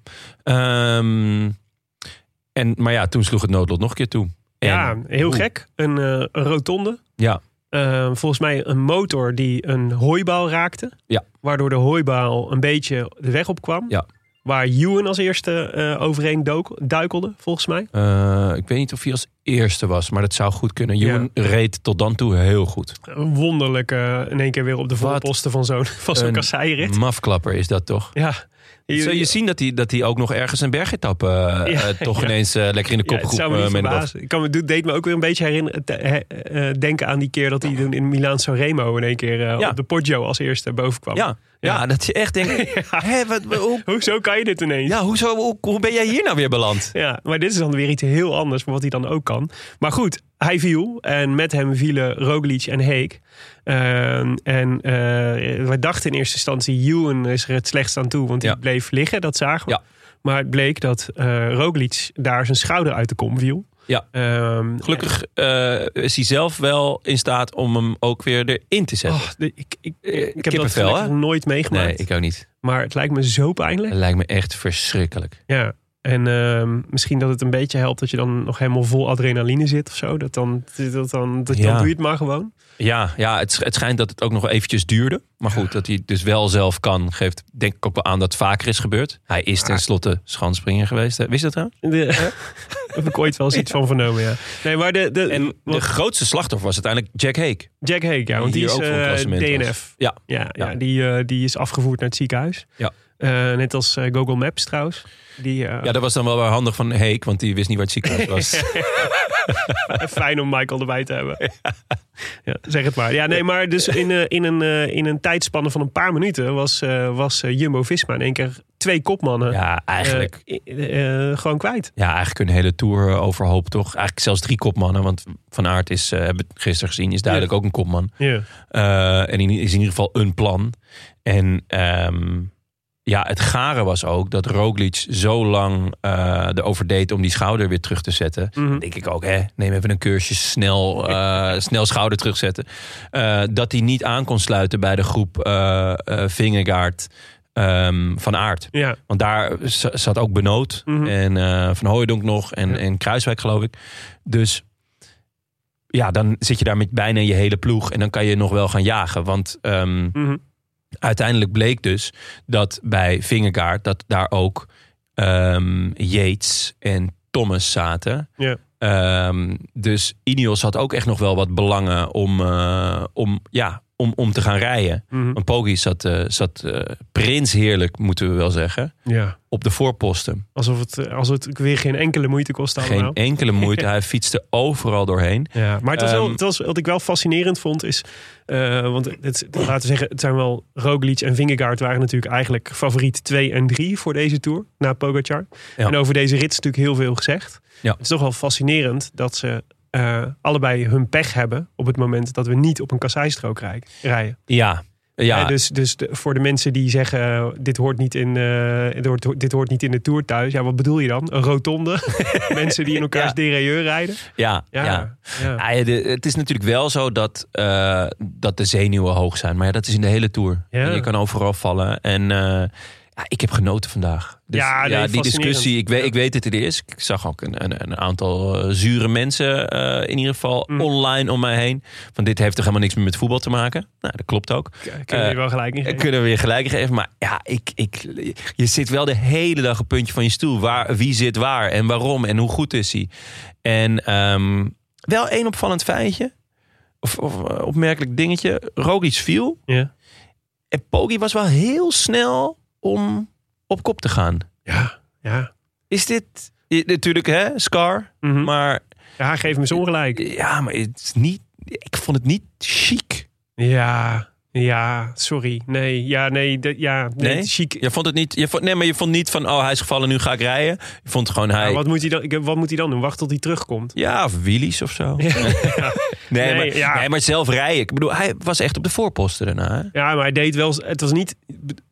Speaker 1: Ehm, en, maar ja, toen sloeg het noodlot nog een keer toe. En-
Speaker 2: ja, heel
Speaker 1: Oeh.
Speaker 2: gek. Een, eh, een rotonde.
Speaker 1: Ja.
Speaker 2: Eh, volgens mij een motor die een hooibaal raakte.
Speaker 1: Ja.
Speaker 2: Waardoor de hooibaal een beetje de weg op kwam.
Speaker 1: Ja.
Speaker 2: Waar Ewan als eerste eh, overheen dook, duikelde, volgens mij.
Speaker 1: Eh, ik weet niet of hij als eerste was, maar dat zou goed kunnen. Joen reed tot dan toe heel goed.
Speaker 2: Een wonderlijk eh, in één keer weer op de voorposten van zo'n van zo'n
Speaker 1: Een
Speaker 2: kasseirit.
Speaker 1: Mafklapper is dat toch?
Speaker 2: Ja.
Speaker 1: Zul je
Speaker 2: Ja,
Speaker 1: zien dat hij, dat hij ook nog ergens een bergetap eh, eh, toch
Speaker 2: ja.
Speaker 1: ineens eh, lekker in de
Speaker 2: het
Speaker 1: kopgroep
Speaker 2: zou me
Speaker 1: eh,
Speaker 2: niet
Speaker 1: Mendel.
Speaker 2: verbazen. Ik kan me, het deed me ook weer een beetje herinneren, te- he- eh, denken aan die keer dat hij in Milaan Sanremo in één keer eh,
Speaker 1: Ja.
Speaker 2: op de Poggio als eerste boven kwam.
Speaker 1: Ja, ja. dat je echt denkt, hè, wat, hoe,
Speaker 2: Hoezo kan je dit ineens?
Speaker 1: ja, hoezo, hoe, hoe ben jij hier nou weer beland?
Speaker 2: Ja, maar dit is dan weer iets heel anders, maar wat hij dan ook kan. Maar goed, hij viel en met hem vielen Roglic en Heek. Ehm, en eh, wij dachten in eerste instantie, Ewan is er het slechtst aan toe, want die
Speaker 1: Ja.
Speaker 2: bleef liggen, dat zagen we.
Speaker 1: Ja.
Speaker 2: Maar het bleek dat eh Roglic daar zijn schouder uit de kom viel.
Speaker 1: Ja.
Speaker 2: Ehm,
Speaker 1: Gelukkig eh, is hij zelf wel in staat om hem ook weer erin te zetten.
Speaker 2: oh, de- ik, ik, ik, heb dat
Speaker 1: Kippenvel,
Speaker 2: gelukkig
Speaker 1: hè?
Speaker 2: nooit meegemaakt,
Speaker 1: nee, ik ook niet.
Speaker 2: maar het lijkt me zo pijnlijk.
Speaker 1: Het lijkt me echt verschrikkelijk.
Speaker 2: Ja. En ehm, misschien dat het een beetje helpt dat je dan nog helemaal vol adrenaline zit of zo. Dat dan, dat dan, dat
Speaker 1: Ja.
Speaker 2: dan doe je het maar gewoon.
Speaker 1: Ja, ja het, sch- het schijnt dat het ook nog eventjes duurde. Maar goed, dat hij het dus wel zelf kan, geeft denk ik ook wel aan dat het vaker is gebeurd. Hij is tenslotte schansspringer geweest. hè. Wist je dat trouwens?
Speaker 2: Heb ik ooit wel eens iets van vernomen, ja. Nee, maar de, de,
Speaker 1: En de
Speaker 2: wat-
Speaker 1: grootste slachtoffer was uiteindelijk Jack Hake.
Speaker 2: Jack Hake, ja, want die
Speaker 1: hier
Speaker 2: is
Speaker 1: ook voor een
Speaker 2: eh,
Speaker 1: klassement was.
Speaker 2: DNF.
Speaker 1: Ja,
Speaker 2: Ja, ja.
Speaker 1: Ja.
Speaker 2: die, eh, die is afgevoerd naar het ziekenhuis.
Speaker 1: Ja.
Speaker 2: Eh, net als eh, Google Maps trouwens. Die, eh,
Speaker 1: ja, dat was dan wel weer handig van Hake, want die wist niet waar het ziekenhuis was.
Speaker 2: Fijn om Michael erbij te hebben. Ja, zeg het maar. Ja, nee, maar dus in, eh, in, een, eh, in een tijdspanne van een paar minuten was, eh, was eh, Jumbo-Visma in één keer twee kopmannen
Speaker 1: ja, eigenlijk.
Speaker 2: eh, eh, eh, gewoon kwijt.
Speaker 1: Ja, eigenlijk een hele tour eh, overhoop, toch? Eigenlijk zelfs drie kopmannen. Want Van Aert is, eh, hebben we gisteren gezien, is duidelijk ook een kopman.
Speaker 2: Ja.
Speaker 1: Eh, en in, is in ieder geval een plan. En ehm, ja, het gare was ook dat Roglic zo lang eh erover deed om die schouder weer terug te zetten. Dan Denk ik ook, hè, neem even een keursje, snel, eh, snel schouder terugzetten. Eh, dat hij niet aan kon sluiten bij de groep eh eh, Vingegaard ehm, van Aert.
Speaker 2: Ja.
Speaker 1: Want daar z- zat ook Benoot en eh, Van Hooijdonk nog en, en Kruiswijk geloof ik. Dus ja, dan zit je daar met bijna je hele ploeg en dan kan je nog wel gaan jagen. Want ehm,
Speaker 2: Mhm.
Speaker 1: uiteindelijk bleek dus dat bij Vingegaard dat daar ook ehm Yates en Thomas zaten.
Speaker 2: Ja.
Speaker 1: Ehm, dus Ineos had ook echt nog wel wat belangen om, eh, om, ja, om, om te gaan rijden.
Speaker 2: Mhm.
Speaker 1: Want Poggi zat, eh, zat eh, prins heerlijk, moeten we wel zeggen,
Speaker 2: ja.
Speaker 1: op de voorposten.
Speaker 2: Alsof het, eh, alsof het weer geen enkele moeite kostte
Speaker 1: Geen e-
Speaker 2: allemaal.
Speaker 1: enkele moeite. Hij fietste overal doorheen.
Speaker 2: Ja, maar het was wel,
Speaker 1: Ehm,
Speaker 2: het was, wat ik wel fascinerend vond is... eh, want het, laten we zeggen, het zijn wel... Roglic en Vingegaard waren natuurlijk eigenlijk favoriet 2 en 3 voor deze Tour. Na Pogacar.
Speaker 1: Ja.
Speaker 2: En over deze rit is natuurlijk heel veel gezegd.
Speaker 1: Ja.
Speaker 2: Het is toch wel fascinerend dat ze eh, allebei hun pech hebben... op het moment dat we niet op een kasseistrook rij- rijden.
Speaker 1: Ja, ja.
Speaker 2: Eh, dus dus de- voor de mensen die zeggen, eh, dit hoort, niet in, eh, dit, hoort, dit hoort niet in de Tour thuis. Ja, wat bedoel je dan? Een rotonde? mensen die in elkaars
Speaker 1: Ja.
Speaker 2: derailleur rijden?
Speaker 1: ja, ja.
Speaker 2: Ja. ja.
Speaker 1: Ah, ja, de- het is natuurlijk wel zo dat, eh, dat de zenuwen hoog zijn. Maar ja, dat is in de hele tour.
Speaker 2: Ja.
Speaker 1: En Je kan overal vallen. En eh, ja, ik heb genoten vandaag. Dus,
Speaker 2: Ja, nee,
Speaker 1: die
Speaker 2: fascinerend.
Speaker 1: discussie. Ik weet, ik weet dat het er is. Ik zag ook een, een, een aantal eh, zure mensen eh, in ieder geval
Speaker 2: Mm.
Speaker 1: online om mij heen. Van dit heeft toch helemaal niks meer met voetbal te maken? Nou, dat klopt ook.
Speaker 2: Kunnen we
Speaker 1: Eh,
Speaker 2: je wel gelijk in
Speaker 1: Eh,
Speaker 2: geven.
Speaker 1: Kunnen we weer gelijk geven. Maar ja, ik, ik, je zit wel de hele dag een puntje van je stoel. Waar, wie zit waar en waarom en hoe goed is hij? En ehm, wel één opvallend feitje. Of, of eh, opmerkelijk dingetje. Roglic viel.
Speaker 2: Ja.
Speaker 1: En Poggi was wel heel snel om op kop te gaan.
Speaker 2: Ja, ja.
Speaker 1: Is dit... eh, Natuurlijk, hè, Scar.
Speaker 2: Mhm.
Speaker 1: Maar
Speaker 2: Ja, geef hem eens ongelijk.
Speaker 1: ja, maar het is niet... Ik vond het niet chic.
Speaker 2: Ja, ja, sorry. Nee, ja, nee, dat- ja, nee,
Speaker 1: Nee?
Speaker 2: chic.
Speaker 1: Je vond het niet... Je vond, nee, maar je vond niet van... Oh, hij is gevallen, nu ga ik rijden. Je vond gewoon hij...
Speaker 2: Ja, wat, moet hij dan, ik- wat moet hij dan doen? Wacht tot hij terugkomt.
Speaker 1: Ja, of wheelies of zo. nee,
Speaker 2: Nee,
Speaker 1: maar,
Speaker 2: ja.
Speaker 1: nee, maar zelf rijden. Ik bedoel, hij was echt op de voorposten daarna. hè?
Speaker 2: Ja, maar hij deed wel... Het was niet...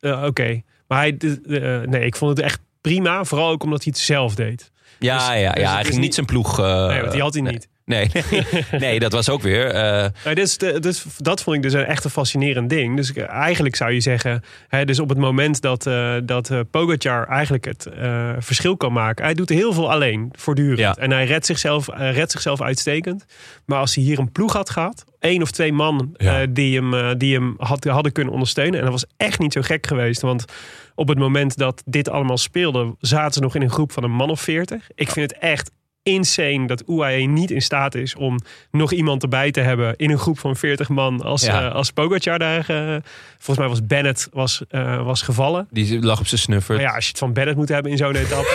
Speaker 2: eh, Oké, maar hij... de- de- eh, nee, ik vond het echt prima. Vooral ook omdat hij het zelf deed.
Speaker 1: Ja,
Speaker 2: Dus-
Speaker 1: ja,
Speaker 2: dus
Speaker 1: ja.
Speaker 2: het
Speaker 1: hij
Speaker 2: is
Speaker 1: ging
Speaker 2: niet-
Speaker 1: niet zijn ploeg... eh,
Speaker 2: Nee, want die had hij niet.
Speaker 1: Nee, nee, nee, dat was ook weer... eh,
Speaker 2: Maar dit is de- dus, dat vond ik dus een echt een fascinerend ding. Dus ik- eigenlijk zou je zeggen, hè, dus op het moment dat, eh dat eh, Pogacar eigenlijk het eh, verschil kan maken. Hij doet heel veel alleen, voortdurend.
Speaker 1: Ja.
Speaker 2: En hij redt zichzelf, eh, redt zichzelf uitstekend. Maar als hij hier een ploeg had gehad, één of twee man
Speaker 1: Ja.
Speaker 2: eh, die hem, eh, die hem had, hadden kunnen ondersteunen. En dat was echt niet zo gek geweest. Want op het moment dat dit allemaal speelde, zaten ze nog in een groep van een man of veertig. Ik vind het echt insane dat UAE niet in staat is om nog iemand erbij te hebben in een groep van 40 man als,
Speaker 1: Ja.
Speaker 2: eh, als Pogacar daar... eh, volgens mij was Bennett was, eh, was gevallen.
Speaker 1: die lag op zijn snuffer.
Speaker 2: Maar ja, als je het van Bennett moet hebben in zo'n etappe.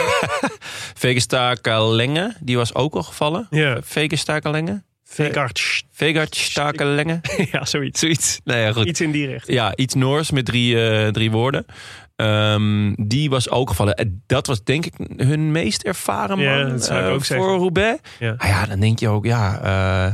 Speaker 1: Vegesta Kalenge, die was ook al gevallen.
Speaker 2: ja,
Speaker 1: Vegesta Kalenge?
Speaker 2: Vekart.
Speaker 1: Vegard Stakelenge?
Speaker 2: Ja, zoiets.
Speaker 1: Zoiets. Nou ja, goed.
Speaker 2: Iets in die richting.
Speaker 1: Ja, iets Noors met drie, eh, drie woorden. Ehm, die was ook gevallen. En Dat was denk ik hun meest ervaren man
Speaker 2: Ja, dat zou ik
Speaker 1: eh,
Speaker 2: ook zeggen.
Speaker 1: voor Roubaix.
Speaker 2: Ja.
Speaker 1: Ah ja, dan denk je ook, ja... eh,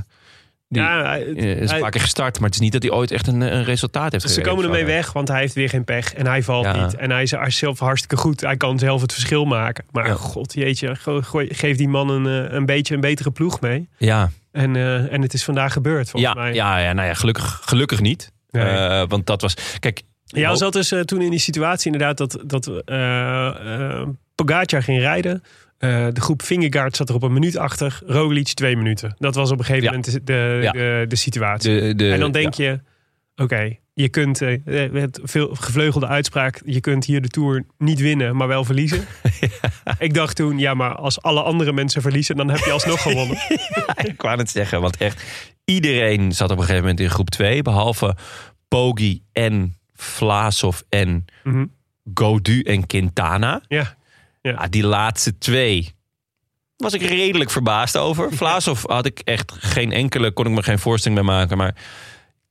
Speaker 1: die
Speaker 2: Ja, hij- het-
Speaker 1: eh, is
Speaker 2: hij-
Speaker 1: vaak gestart, maar het is niet dat hij ooit echt een, een resultaat heeft
Speaker 2: ze
Speaker 1: gereden.
Speaker 2: komen ermee
Speaker 1: Van, eh,
Speaker 2: weg, want hij heeft weer geen pech. En hij valt
Speaker 1: Ja.
Speaker 2: niet. En hij is er zelf hartstikke goed. Hij kan zelf het verschil maken. Maar
Speaker 1: Ja.
Speaker 2: god, jeetje, go- gooi- geef die man een, eh, een beetje een betere ploeg mee.
Speaker 1: Ja,
Speaker 2: En, eh, en het is vandaag gebeurd, volgens
Speaker 1: ja,
Speaker 2: mij.
Speaker 1: ja, ja, nou ja, gelukkig, gelukkig niet.
Speaker 2: Nee.
Speaker 1: Eh, want dat was... Kijk,
Speaker 2: Ja,
Speaker 1: hoop-
Speaker 2: we zat dus eh, toen in die situatie inderdaad dat, dat eh eh, Pogacar ging rijden. Eh, de groep Vingegaard zat er op een minuut achter. Roglic twee minuten. Dat was op een gegeven
Speaker 1: Ja.
Speaker 2: moment de, de,
Speaker 1: Ja.
Speaker 2: de, de situatie.
Speaker 1: De, de,
Speaker 2: en dan denk je, oké, je kunt, eh, eh, het veel gevleugelde uitspraak, je kunt hier de Tour niet winnen, maar wel verliezen. Ik dacht toen, ja, maar als alle andere mensen verliezen, dan heb je alsnog gewonnen.
Speaker 1: Ik wou het zeggen, want echt iedereen zat op een gegeven moment in groep 2. Behalve Poggi en Vlaasov en
Speaker 2: Mhm.
Speaker 1: Godu en Quintana.
Speaker 2: Ja,
Speaker 1: Ja, die laatste twee was ik redelijk verbaasd over. Vlaasov had ik echt geen enkele, kon ik me geen voorstelling bij maken. Maar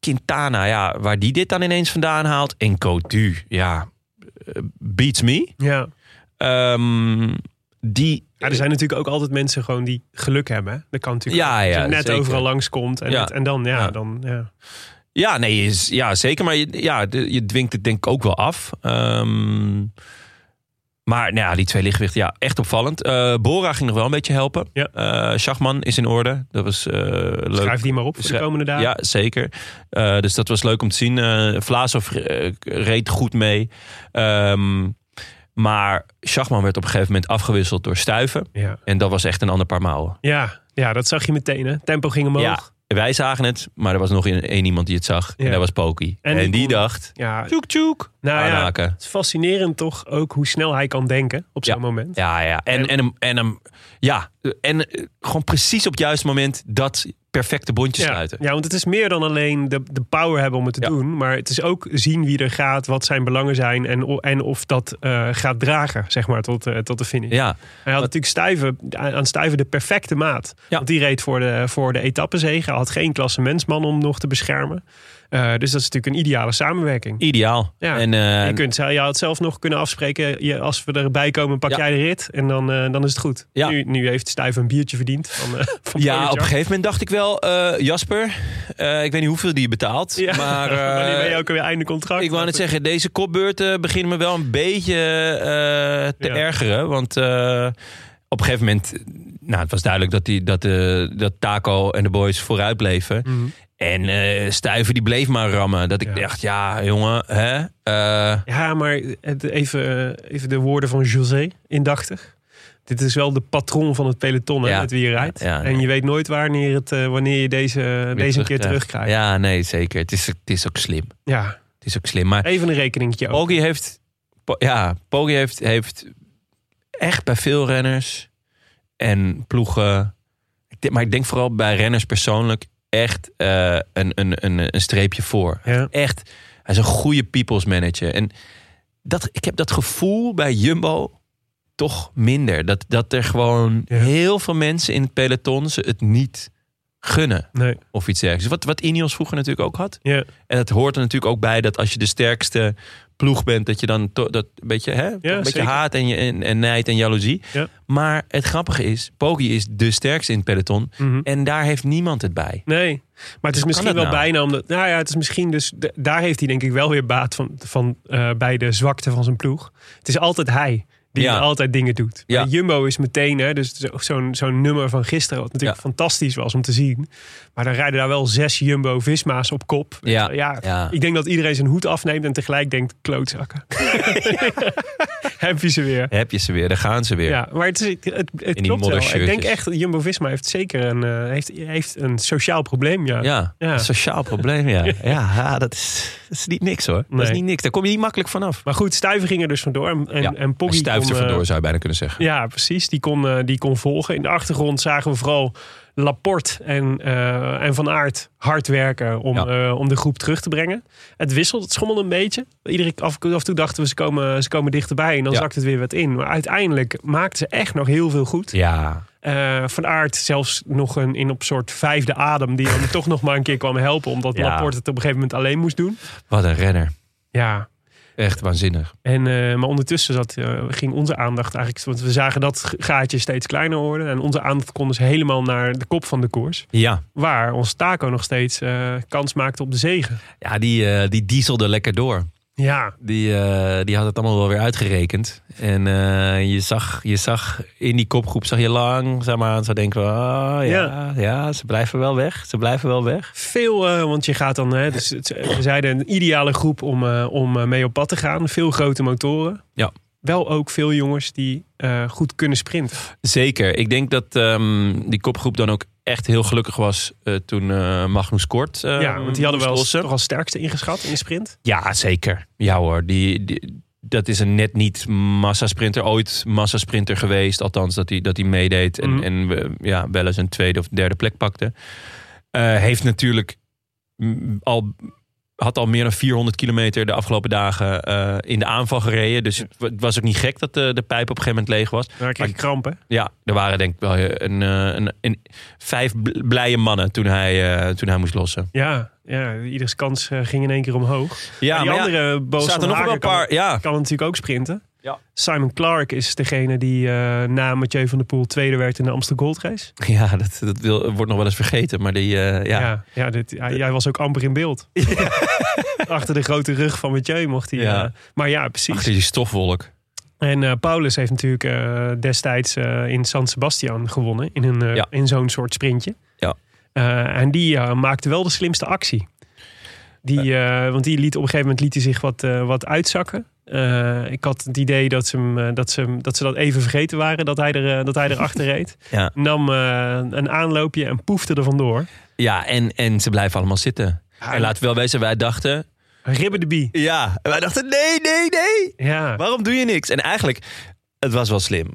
Speaker 1: Quintana, ja, waar die dit dan ineens vandaan haalt. En Godu, ja, eh, beats me.
Speaker 2: ja.
Speaker 1: Ehm, die...
Speaker 2: Ja, er zijn natuurlijk ook altijd mensen gewoon die geluk hebben. hè. Dat kan natuurlijk
Speaker 1: Ja,
Speaker 2: ook. Als je
Speaker 1: ja,
Speaker 2: net
Speaker 1: zeker.
Speaker 2: overal langskomt en,
Speaker 1: Ja.
Speaker 2: het- en dan, ja,
Speaker 1: Ja.
Speaker 2: dan, ja.
Speaker 1: eh, Ja, nee, je is, ja, zeker. Maar je, ja, de- je dwingt het denk ik ook wel af. Ehm, maar nou ja, die twee lichtgewichten, ja, echt opvallend. Eh, Bora ging nog wel een beetje helpen.
Speaker 2: Ja.
Speaker 1: Eh, Schachman is in orde. Dat was eh, leuk.
Speaker 2: Schrijf die maar op voor de
Speaker 1: Schrij-
Speaker 2: komende dagen.
Speaker 1: Ja, zeker. Eh, dus dat was leuk om te zien. Eh Vlaasov eh, reed goed mee. Ehm, maar Schachman werd op een gegeven moment afgewisseld door Stuiven.
Speaker 2: Ja.
Speaker 1: En dat was echt een ander paar mouwen.
Speaker 2: Ja, ja, dat zag je meteen. Hè? Tempo ging omhoog. Ja,
Speaker 1: Ja, wij zagen het, maar er was nog één één iemand die het zag.
Speaker 2: Ja.
Speaker 1: En dat was Poki.
Speaker 2: En
Speaker 1: En,
Speaker 2: die
Speaker 1: die,
Speaker 2: kon-
Speaker 1: dacht...
Speaker 2: tjoek tjoek. Nou ja,
Speaker 1: Aanhaken.
Speaker 2: het is fascinerend toch ook hoe snel hij kan denken op zo'n moment.
Speaker 1: Ja, ja. En, en, hem, en hem... Ja, en eh, gewoon precies op het juiste moment dat perfecte bondje
Speaker 2: Ja,
Speaker 1: sluiten.
Speaker 2: ja, want het is meer dan alleen de, de power hebben om het te
Speaker 1: Ja.
Speaker 2: doen. Maar het is ook zien wie er gaat, wat zijn belangen zijn en, o- en of dat eh, gaat dragen, zeg maar, tot, eh, tot de finish.
Speaker 1: Ja,
Speaker 2: Hij had natuurlijk Stuyven, aan Stuyven de perfecte maat.
Speaker 1: Ja.
Speaker 2: Want die reed voor de, voor de etappenzege. Hij had geen klassementsman om nog te beschermen. Eh, dus dat is natuurlijk een ideale samenwerking.
Speaker 1: ideaal.
Speaker 2: Ja.
Speaker 1: En, eh,
Speaker 2: je, kunt, je had zelf nog kunnen afspreken, je, als we erbij komen pak
Speaker 1: Ja.
Speaker 2: jij de rit. En dan, eh, dan is het goed.
Speaker 1: Ja.
Speaker 2: Nu, nu heeft Stuyven een biertje verdiend van, eh van
Speaker 1: Ja, op
Speaker 2: Pogacar.
Speaker 1: een gegeven moment dacht ik wel, eh, Jasper, eh, ik weet niet hoeveel die je betaalt.
Speaker 2: Ja.
Speaker 1: Maar
Speaker 2: Wanneer ben
Speaker 1: eh,
Speaker 2: je ook weer einde contract?
Speaker 1: ik wou net zeggen, deze kopbeurten beginnen me wel een beetje eh, te
Speaker 2: Ja.
Speaker 1: ergeren. Want eh, op een gegeven moment, nou, het was duidelijk dat, die, dat, eh, dat Taco en de boys vooruit bleven. En eh Stuiven die bleef maar rammen. Dat ik
Speaker 2: Mhm. Ja.
Speaker 1: dacht, ja jongen, hè? Eh,
Speaker 2: Ja, maar het- even, eh, even de woorden van José indachtig. Dit is wel de patroon van het peloton hè,
Speaker 1: Ja.
Speaker 2: met wie je rijdt.
Speaker 1: Ja, ja,
Speaker 2: En
Speaker 1: nee.
Speaker 2: je weet nooit wanneer, het, eh, wanneer je deze, deze een keer terugkrijgt. Ja.
Speaker 1: Ja, nee, zeker. Het is, het is ook slim. Het is ook slim. Maar
Speaker 2: Even een rekeningetje ook.
Speaker 1: Poggi heeft, Po- ja, Poggi heeft, heeft echt bij veel renners en ploegen, ik denk- maar ik denk vooral bij renners persoonlijk, echt eh, een, een, een, een streepje voor.
Speaker 2: Ja.
Speaker 1: Echt, hij is een goede people's manager. En dat, ik heb dat gevoel bij Jumbo toch minder. Dat, dat er gewoon
Speaker 2: Ja.
Speaker 1: heel veel mensen in het peloton ze het niet gunnen
Speaker 2: Nee.
Speaker 1: of iets dergelijks. Wat, wat Ineos vroeger natuurlijk ook had.
Speaker 2: Ja.
Speaker 1: En dat hoort er natuurlijk ook bij dat als je de sterkste ploeg bent, dat je dan to- dat een beetje, hè, een beetje
Speaker 2: zeker.
Speaker 1: haat en, je- en, en nijd en jaloezie.
Speaker 2: Ja.
Speaker 1: Maar het grappige is, Poggi is de sterkste in het peloton.
Speaker 2: Mhm.
Speaker 1: En daar heeft niemand het bij.
Speaker 2: Nee, maar het is misschien
Speaker 1: het
Speaker 2: wel
Speaker 1: nou?
Speaker 2: bijna omdat. Nou ja, het is misschien dus. d- Daar heeft hij denk ik wel weer baat van, van eh, bij de zwakte van zijn ploeg. Het is altijd hij die
Speaker 1: Ja.
Speaker 2: altijd dingen doet.
Speaker 1: Ja.
Speaker 2: Bij Jumbo is meteen, hè, dus het is ook zo'n zo'n nummer van gisteren, wat natuurlijk
Speaker 1: Ja.
Speaker 2: fantastisch was om te zien. Maar dan rijden daar wel zes Jumbo Visma's op kop.
Speaker 1: Ja.
Speaker 2: ja,
Speaker 1: Ja.
Speaker 2: ik denk dat iedereen zijn hoed afneemt en tegelijk denkt: klootzakken. Heb je ze weer?
Speaker 1: Heb je ze weer, daar gaan ze weer.
Speaker 2: Ja, maar het, is, het, het
Speaker 1: die
Speaker 2: klopt wel. Ik denk
Speaker 1: moddershirtjes.
Speaker 2: echt, Jumbo-Visma heeft zeker een, eh, heeft, heeft een sociaal probleem, ja.
Speaker 1: Ja,
Speaker 2: Ja.
Speaker 1: een sociaal probleem, ja. ja. ja, dat, is, dat is niet niks hoor. Dat is
Speaker 2: Nee.
Speaker 1: niet niks. Daar kom je niet makkelijk vanaf.
Speaker 2: Maar goed, Stuyven ging er dus vandoor. En, en,
Speaker 1: ja.
Speaker 2: en Poggi
Speaker 1: Hij stuift er
Speaker 2: kon, eh,
Speaker 1: vandoor, zou je bijna kunnen zeggen.
Speaker 2: ja, precies. Die kon, eh, die kon volgen. In de achtergrond zagen we vooral Laporte en, eh, en Van Aert hard werken om,
Speaker 1: Ja.
Speaker 2: eh, om de groep terug te brengen. Het wisselt, het schommelde een beetje. Iedere af, af en toe dachten we ze komen, ze komen dichterbij en dan
Speaker 1: Ja.
Speaker 2: zakt het weer wat in. Maar uiteindelijk maakten ze echt nog heel veel goed.
Speaker 1: Ja,
Speaker 2: Eh, van Aert zelfs nog een in op soort vijfde adem die hem toch nog maar een keer kwam helpen. Omdat
Speaker 1: Ja.
Speaker 2: Laporte het op een gegeven moment alleen moest doen.
Speaker 1: wat een renner.
Speaker 2: Ja,
Speaker 1: Echt waanzinnig.
Speaker 2: En, eh, maar ondertussen zat, eh, ging onze aandacht eigenlijk... want we zagen dat g- gaatje steeds kleiner worden... en onze aandacht kon dus helemaal naar de kop van de koers...
Speaker 1: Ja,
Speaker 2: waar ons Taco nog steeds eh, kans maakte op de zegen.
Speaker 1: ja die, eh, die dieselde lekker door.
Speaker 2: Ja,
Speaker 1: Die, eh, die had het allemaal wel weer uitgerekend. En eh, je, zag, je zag in die kopgroep, zag je langzaam aan zo denken: van, ah ja, ja. ze blijven wel weg. Ze blijven wel weg.
Speaker 2: veel, eh, want je gaat dan... Hè, dus, het- we zeiden een ideale groep om, eh, om eh, mee op pad te gaan. Veel grote motoren.
Speaker 1: Ja.
Speaker 2: wel ook veel jongens die eh, goed kunnen sprinten.
Speaker 1: Zeker. Ik denk dat ehm, die kopgroep dan ook echt heel gelukkig was eh, toen eh Magnus Kort. eh,
Speaker 2: ja, want die hadden
Speaker 1: moest
Speaker 2: wel als,
Speaker 1: lossen.
Speaker 2: toch als sterkste ingeschat in de sprint.
Speaker 1: Ja, zeker. Ja hoor, die, die- dat is een net niet massasprinter, ooit massasprinter geweest. Althans, dat hij dat hij meedeed en,
Speaker 2: Mhm.
Speaker 1: en we- ja, wel eens een tweede of derde plek pakte. Eh, heeft natuurlijk mm, al, had al meer dan 400 kilometer de afgelopen dagen eh, in de aanval gereden. Dus het wa- het was ook niet gek dat de, de pijp op een gegeven moment leeg was.
Speaker 2: Daar kreeg ik kramp, hè?
Speaker 1: Ja, er waren denk ik wel eh, een, eh, een, een- vijf bl- blije mannen toen hij, eh, toen hij moest lossen.
Speaker 2: Ja, ja ieders kans eh, ging in één keer omhoog.
Speaker 1: Ja,
Speaker 2: maar die
Speaker 1: maar ja,
Speaker 2: andere
Speaker 1: er
Speaker 2: Boos
Speaker 1: zaten
Speaker 2: van
Speaker 1: nog wel
Speaker 2: Hagen
Speaker 1: een paar.
Speaker 2: kan,
Speaker 1: Ja,
Speaker 2: kan natuurlijk ook sprinten.
Speaker 1: Ja.
Speaker 2: Simon Clark is degene die eh, na Mathieu van der Poel tweede werd in de Amsterdam Gold Race.
Speaker 1: ja dat, dat wil, wordt nog wel eens vergeten. Maar die, eh, ja.
Speaker 2: ja, ja, dit, hij, hij was ook amper in beeld. Achter de grote rug van Mathieu mocht hij.
Speaker 1: Ja.
Speaker 2: eh, maar ja, precies.
Speaker 1: achter die stofwolk.
Speaker 2: En eh, Paulus heeft natuurlijk eh, destijds eh, in San Sebastian gewonnen. In, een, eh,
Speaker 1: Ja.
Speaker 2: in zo'n soort sprintje.
Speaker 1: Ja.
Speaker 2: Eh, en die eh, maakte wel de slimste actie. Die, eh, want die liet op een gegeven moment liet hij zich wat, eh, wat uitzakken. Eh, ik had het idee dat ze, hem, eh, dat, ze hem- dat ze dat even vergeten waren. Dat hij, er, eh, dat hij erachter reed.
Speaker 1: Ja.
Speaker 2: Nam eh, een aanloopje en poefde er vandoor.
Speaker 1: Ja, en, en ze blijven allemaal zitten. En laten we wel wezen, wij dachten...
Speaker 2: Ribben de bie.
Speaker 1: Ja, wij dachten, nee, nee, nee.
Speaker 2: Ja.
Speaker 1: Waarom doe je niks? En eigenlijk, het was wel slim.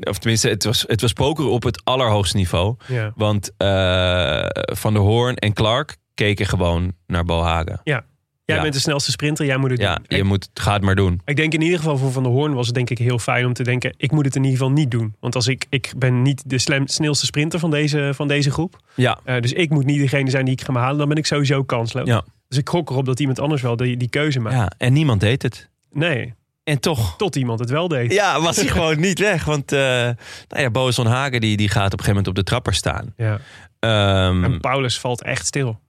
Speaker 1: Of tenminste, het was, het was poker op het allerhoogste niveau.
Speaker 2: ja.
Speaker 1: Want eh, Van der Hoorn en Clark keken gewoon naar Bohagen.
Speaker 2: Jij
Speaker 1: Ja.
Speaker 2: bent de snelste sprinter. Jij moet het
Speaker 1: Ja,
Speaker 2: doen. Ik-
Speaker 1: je moet, ga het maar doen.
Speaker 2: Ik denk in ieder geval voor Van der Hoorn was het denk ik heel fijn om te denken... ik moet het in ieder geval niet doen. Want als ik, ik ben niet de slim- snelste sprinter van deze, van deze groep.
Speaker 1: Ja,
Speaker 2: Eh, dus ik moet niet degene zijn die ik ga me halen. Dan ben ik sowieso kansloos.
Speaker 1: Ja.
Speaker 2: Dus ik gok erop dat iemand anders wel die, die keuze maakt.
Speaker 1: ja, en niemand deed het.
Speaker 2: Nee,
Speaker 1: En toch.
Speaker 2: tot iemand het wel deed.
Speaker 1: Ja, was hij gewoon niet weg. Want eh nou ja, Boas van Hagen die, die gaat op een gegeven moment op de trapper staan.
Speaker 2: Ja.
Speaker 1: Ehm,
Speaker 2: En Paulus valt echt stil.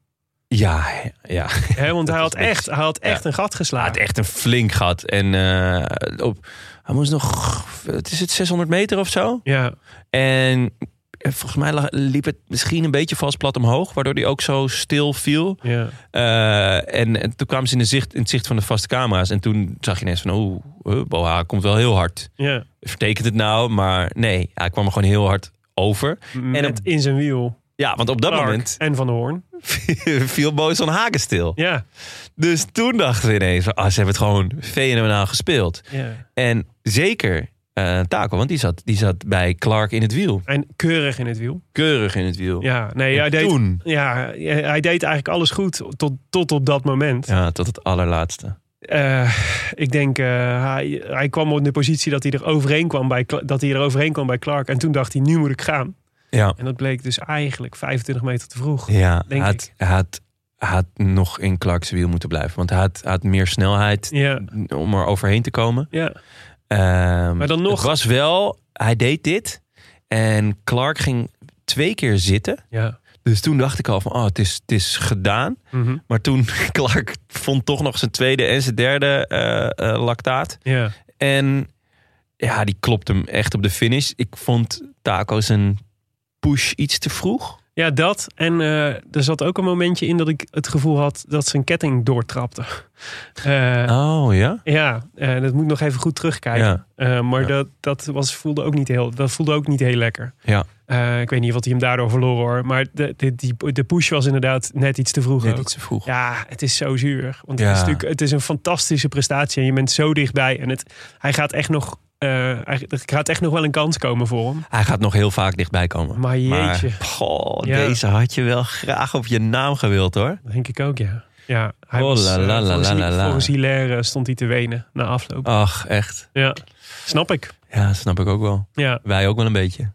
Speaker 1: ja, ja, ja.
Speaker 2: Hè, want hij had,
Speaker 1: was niks.
Speaker 2: echt, hij had echt een gat
Speaker 1: Hij had
Speaker 2: geslagen.
Speaker 1: echt een flink gat. En eh, op, hij moest nog, wat is het 600 meter of zo?
Speaker 2: Ja,
Speaker 1: En eh, volgens mij lag- liep het misschien een beetje vast plat omhoog. Waardoor hij ook zo stil viel.
Speaker 2: ja.
Speaker 1: Eh, en, en toen kwamen ze in, de zicht, in het zicht van de vaste camera's. En toen zag je ineens van, oh, eh, Boha komt wel heel hard.
Speaker 2: ja.
Speaker 1: Vertekent het nou? Maar nee, hij kwam er gewoon heel hard over.
Speaker 2: Met
Speaker 1: op-
Speaker 2: in zijn wiel.
Speaker 1: Ja, want op dat
Speaker 2: Clark
Speaker 1: moment
Speaker 2: En Van der Hoorn.
Speaker 1: viel Boos van Haken stil.
Speaker 2: Ja,
Speaker 1: Dus toen dachten we ineens, van, ah, ze hebben het gewoon fenomenaal gespeeld.
Speaker 2: ja.
Speaker 1: En zeker eh Taco, want die zat, die zat bij Clark in het wiel.
Speaker 2: En keurig in het wiel.
Speaker 1: Keurig in het wiel.
Speaker 2: Ja, nee, hij
Speaker 1: En
Speaker 2: deed,
Speaker 1: toen.
Speaker 2: Ja, hij deed eigenlijk alles goed tot, tot op dat moment.
Speaker 1: Ja, tot het allerlaatste.
Speaker 2: Eh, ik denk, eh, hij, hij kwam op de positie dat hij, er overheen kwam bij, Cla- dat hij er overheen kwam bij Clark. En toen dacht hij, nu moet ik gaan.
Speaker 1: Ja.
Speaker 2: En dat bleek dus eigenlijk 25 meter te vroeg.
Speaker 1: Ja,
Speaker 2: denk
Speaker 1: hij had,
Speaker 2: ik.
Speaker 1: hij had, hij had nog in Clark's wiel moeten blijven. Want hij had, hij had meer snelheid
Speaker 2: Ja,
Speaker 1: om er overheen te komen.
Speaker 2: ja,
Speaker 1: Ehm,
Speaker 2: Maar dan nog-
Speaker 1: Het was wel, hij deed dit. En Clark ging twee keer zitten.
Speaker 2: ja.
Speaker 1: Dus toen dacht ik al van, oh, het is, het is gedaan.
Speaker 2: Mhm.
Speaker 1: Maar toen, Clark vond toch nog zijn tweede en zijn derde eh, eh, lactaat.
Speaker 2: ja.
Speaker 1: En ja, die klopte hem echt op de finish. Ik vond Taco zijn push iets te vroeg.
Speaker 2: ja, dat. En eh, er zat ook een momentje in dat ik het gevoel had dat zijn ketting doortrapte. Eh,
Speaker 1: Oh ja?
Speaker 2: Ja, eh, dat moet ik nog even goed terugkijken.
Speaker 1: Ja.
Speaker 2: Eh, maar
Speaker 1: Ja.
Speaker 2: dat, dat was, voelde ook niet heel, dat voelde ook niet heel lekker.
Speaker 1: Ja.
Speaker 2: Eh, ik weet niet wat hij hem daardoor verloor hoor. Maar de, de, die, de push was inderdaad net iets te vroeg.
Speaker 1: Net
Speaker 2: ook.
Speaker 1: iets te vroeg.
Speaker 2: Ja, het is zo zuur. Want
Speaker 1: Ja.
Speaker 2: het, is natuurlijk, het is een fantastische prestatie. En je bent zo dichtbij. En het, hij, gaat echt nog, eh, hij er gaat echt nog wel een kans komen voor hem.
Speaker 1: Hij gaat nog heel vaak dichtbij komen.
Speaker 2: Maar jeetje.
Speaker 1: goh,
Speaker 2: Ja.
Speaker 1: deze had je wel graag op je naam gewild hoor.
Speaker 2: Dat denk ik ook, ja. Ja, hij
Speaker 1: Oh,
Speaker 2: was,
Speaker 1: la,
Speaker 2: eh,
Speaker 1: la, la,
Speaker 2: volgens,
Speaker 1: la, la, Ah. la.
Speaker 2: volgens Hilaire stond hij te wenen na afloop.
Speaker 1: Ach, echt.
Speaker 2: Ja, snap ik.
Speaker 1: Ja, snap ik ook wel.
Speaker 2: Ja.
Speaker 1: Wij ook wel een beetje.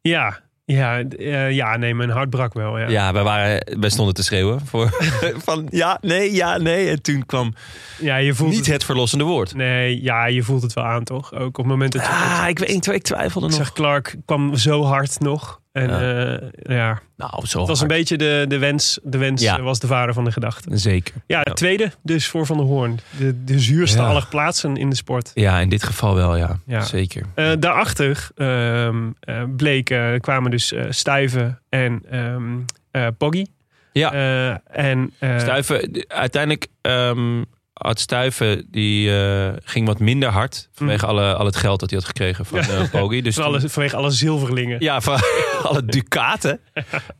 Speaker 2: Ja, ja, d- eh, ja nee, mijn hart brak wel. Ja.
Speaker 1: Ja, wij, waren, wij stonden te schreeuwen voor van ja, nee, ja, nee. En toen kwam
Speaker 2: Ja, je voelt
Speaker 1: niet
Speaker 2: het,
Speaker 1: het verlossende woord.
Speaker 2: Nee, ja, je voelt het wel aan, toch? Ook op het moment dat je...
Speaker 1: Ah, ik, weet, ik, twi- ik twijfelde
Speaker 2: ik
Speaker 1: nog.
Speaker 2: zag Clark kwam zo hard nog. En
Speaker 1: Ja.
Speaker 2: ja, ja. het
Speaker 1: nou, zo
Speaker 2: was een
Speaker 1: hard.
Speaker 2: beetje de, de wens. De wens
Speaker 1: Ja.
Speaker 2: eh, was de vader van de gedachte.
Speaker 1: Zeker.
Speaker 2: Ja, de tweede dus voor Van der Hoorn. De, de zuurste
Speaker 1: Ja.
Speaker 2: aller plaatsen in de sport.
Speaker 1: Ja, in dit geval wel, ja.
Speaker 2: Ja.
Speaker 1: Zeker.
Speaker 2: Eh, daarachter ehm, eh, bleek, eh, kwamen dus eh Stuiven en ehm eh Poggi.
Speaker 1: Ja.
Speaker 2: Eh, en, eh,
Speaker 1: Stuiven, d- uiteindelijk ehm, Ad Stuyven die eh, ging wat minder hard. Vanwege alle, al het geld dat hij had gekregen van eh Poggi. Dus
Speaker 2: Hm. Van alle, vanwege alle zilverlingen.
Speaker 1: Ja, van alle ducaten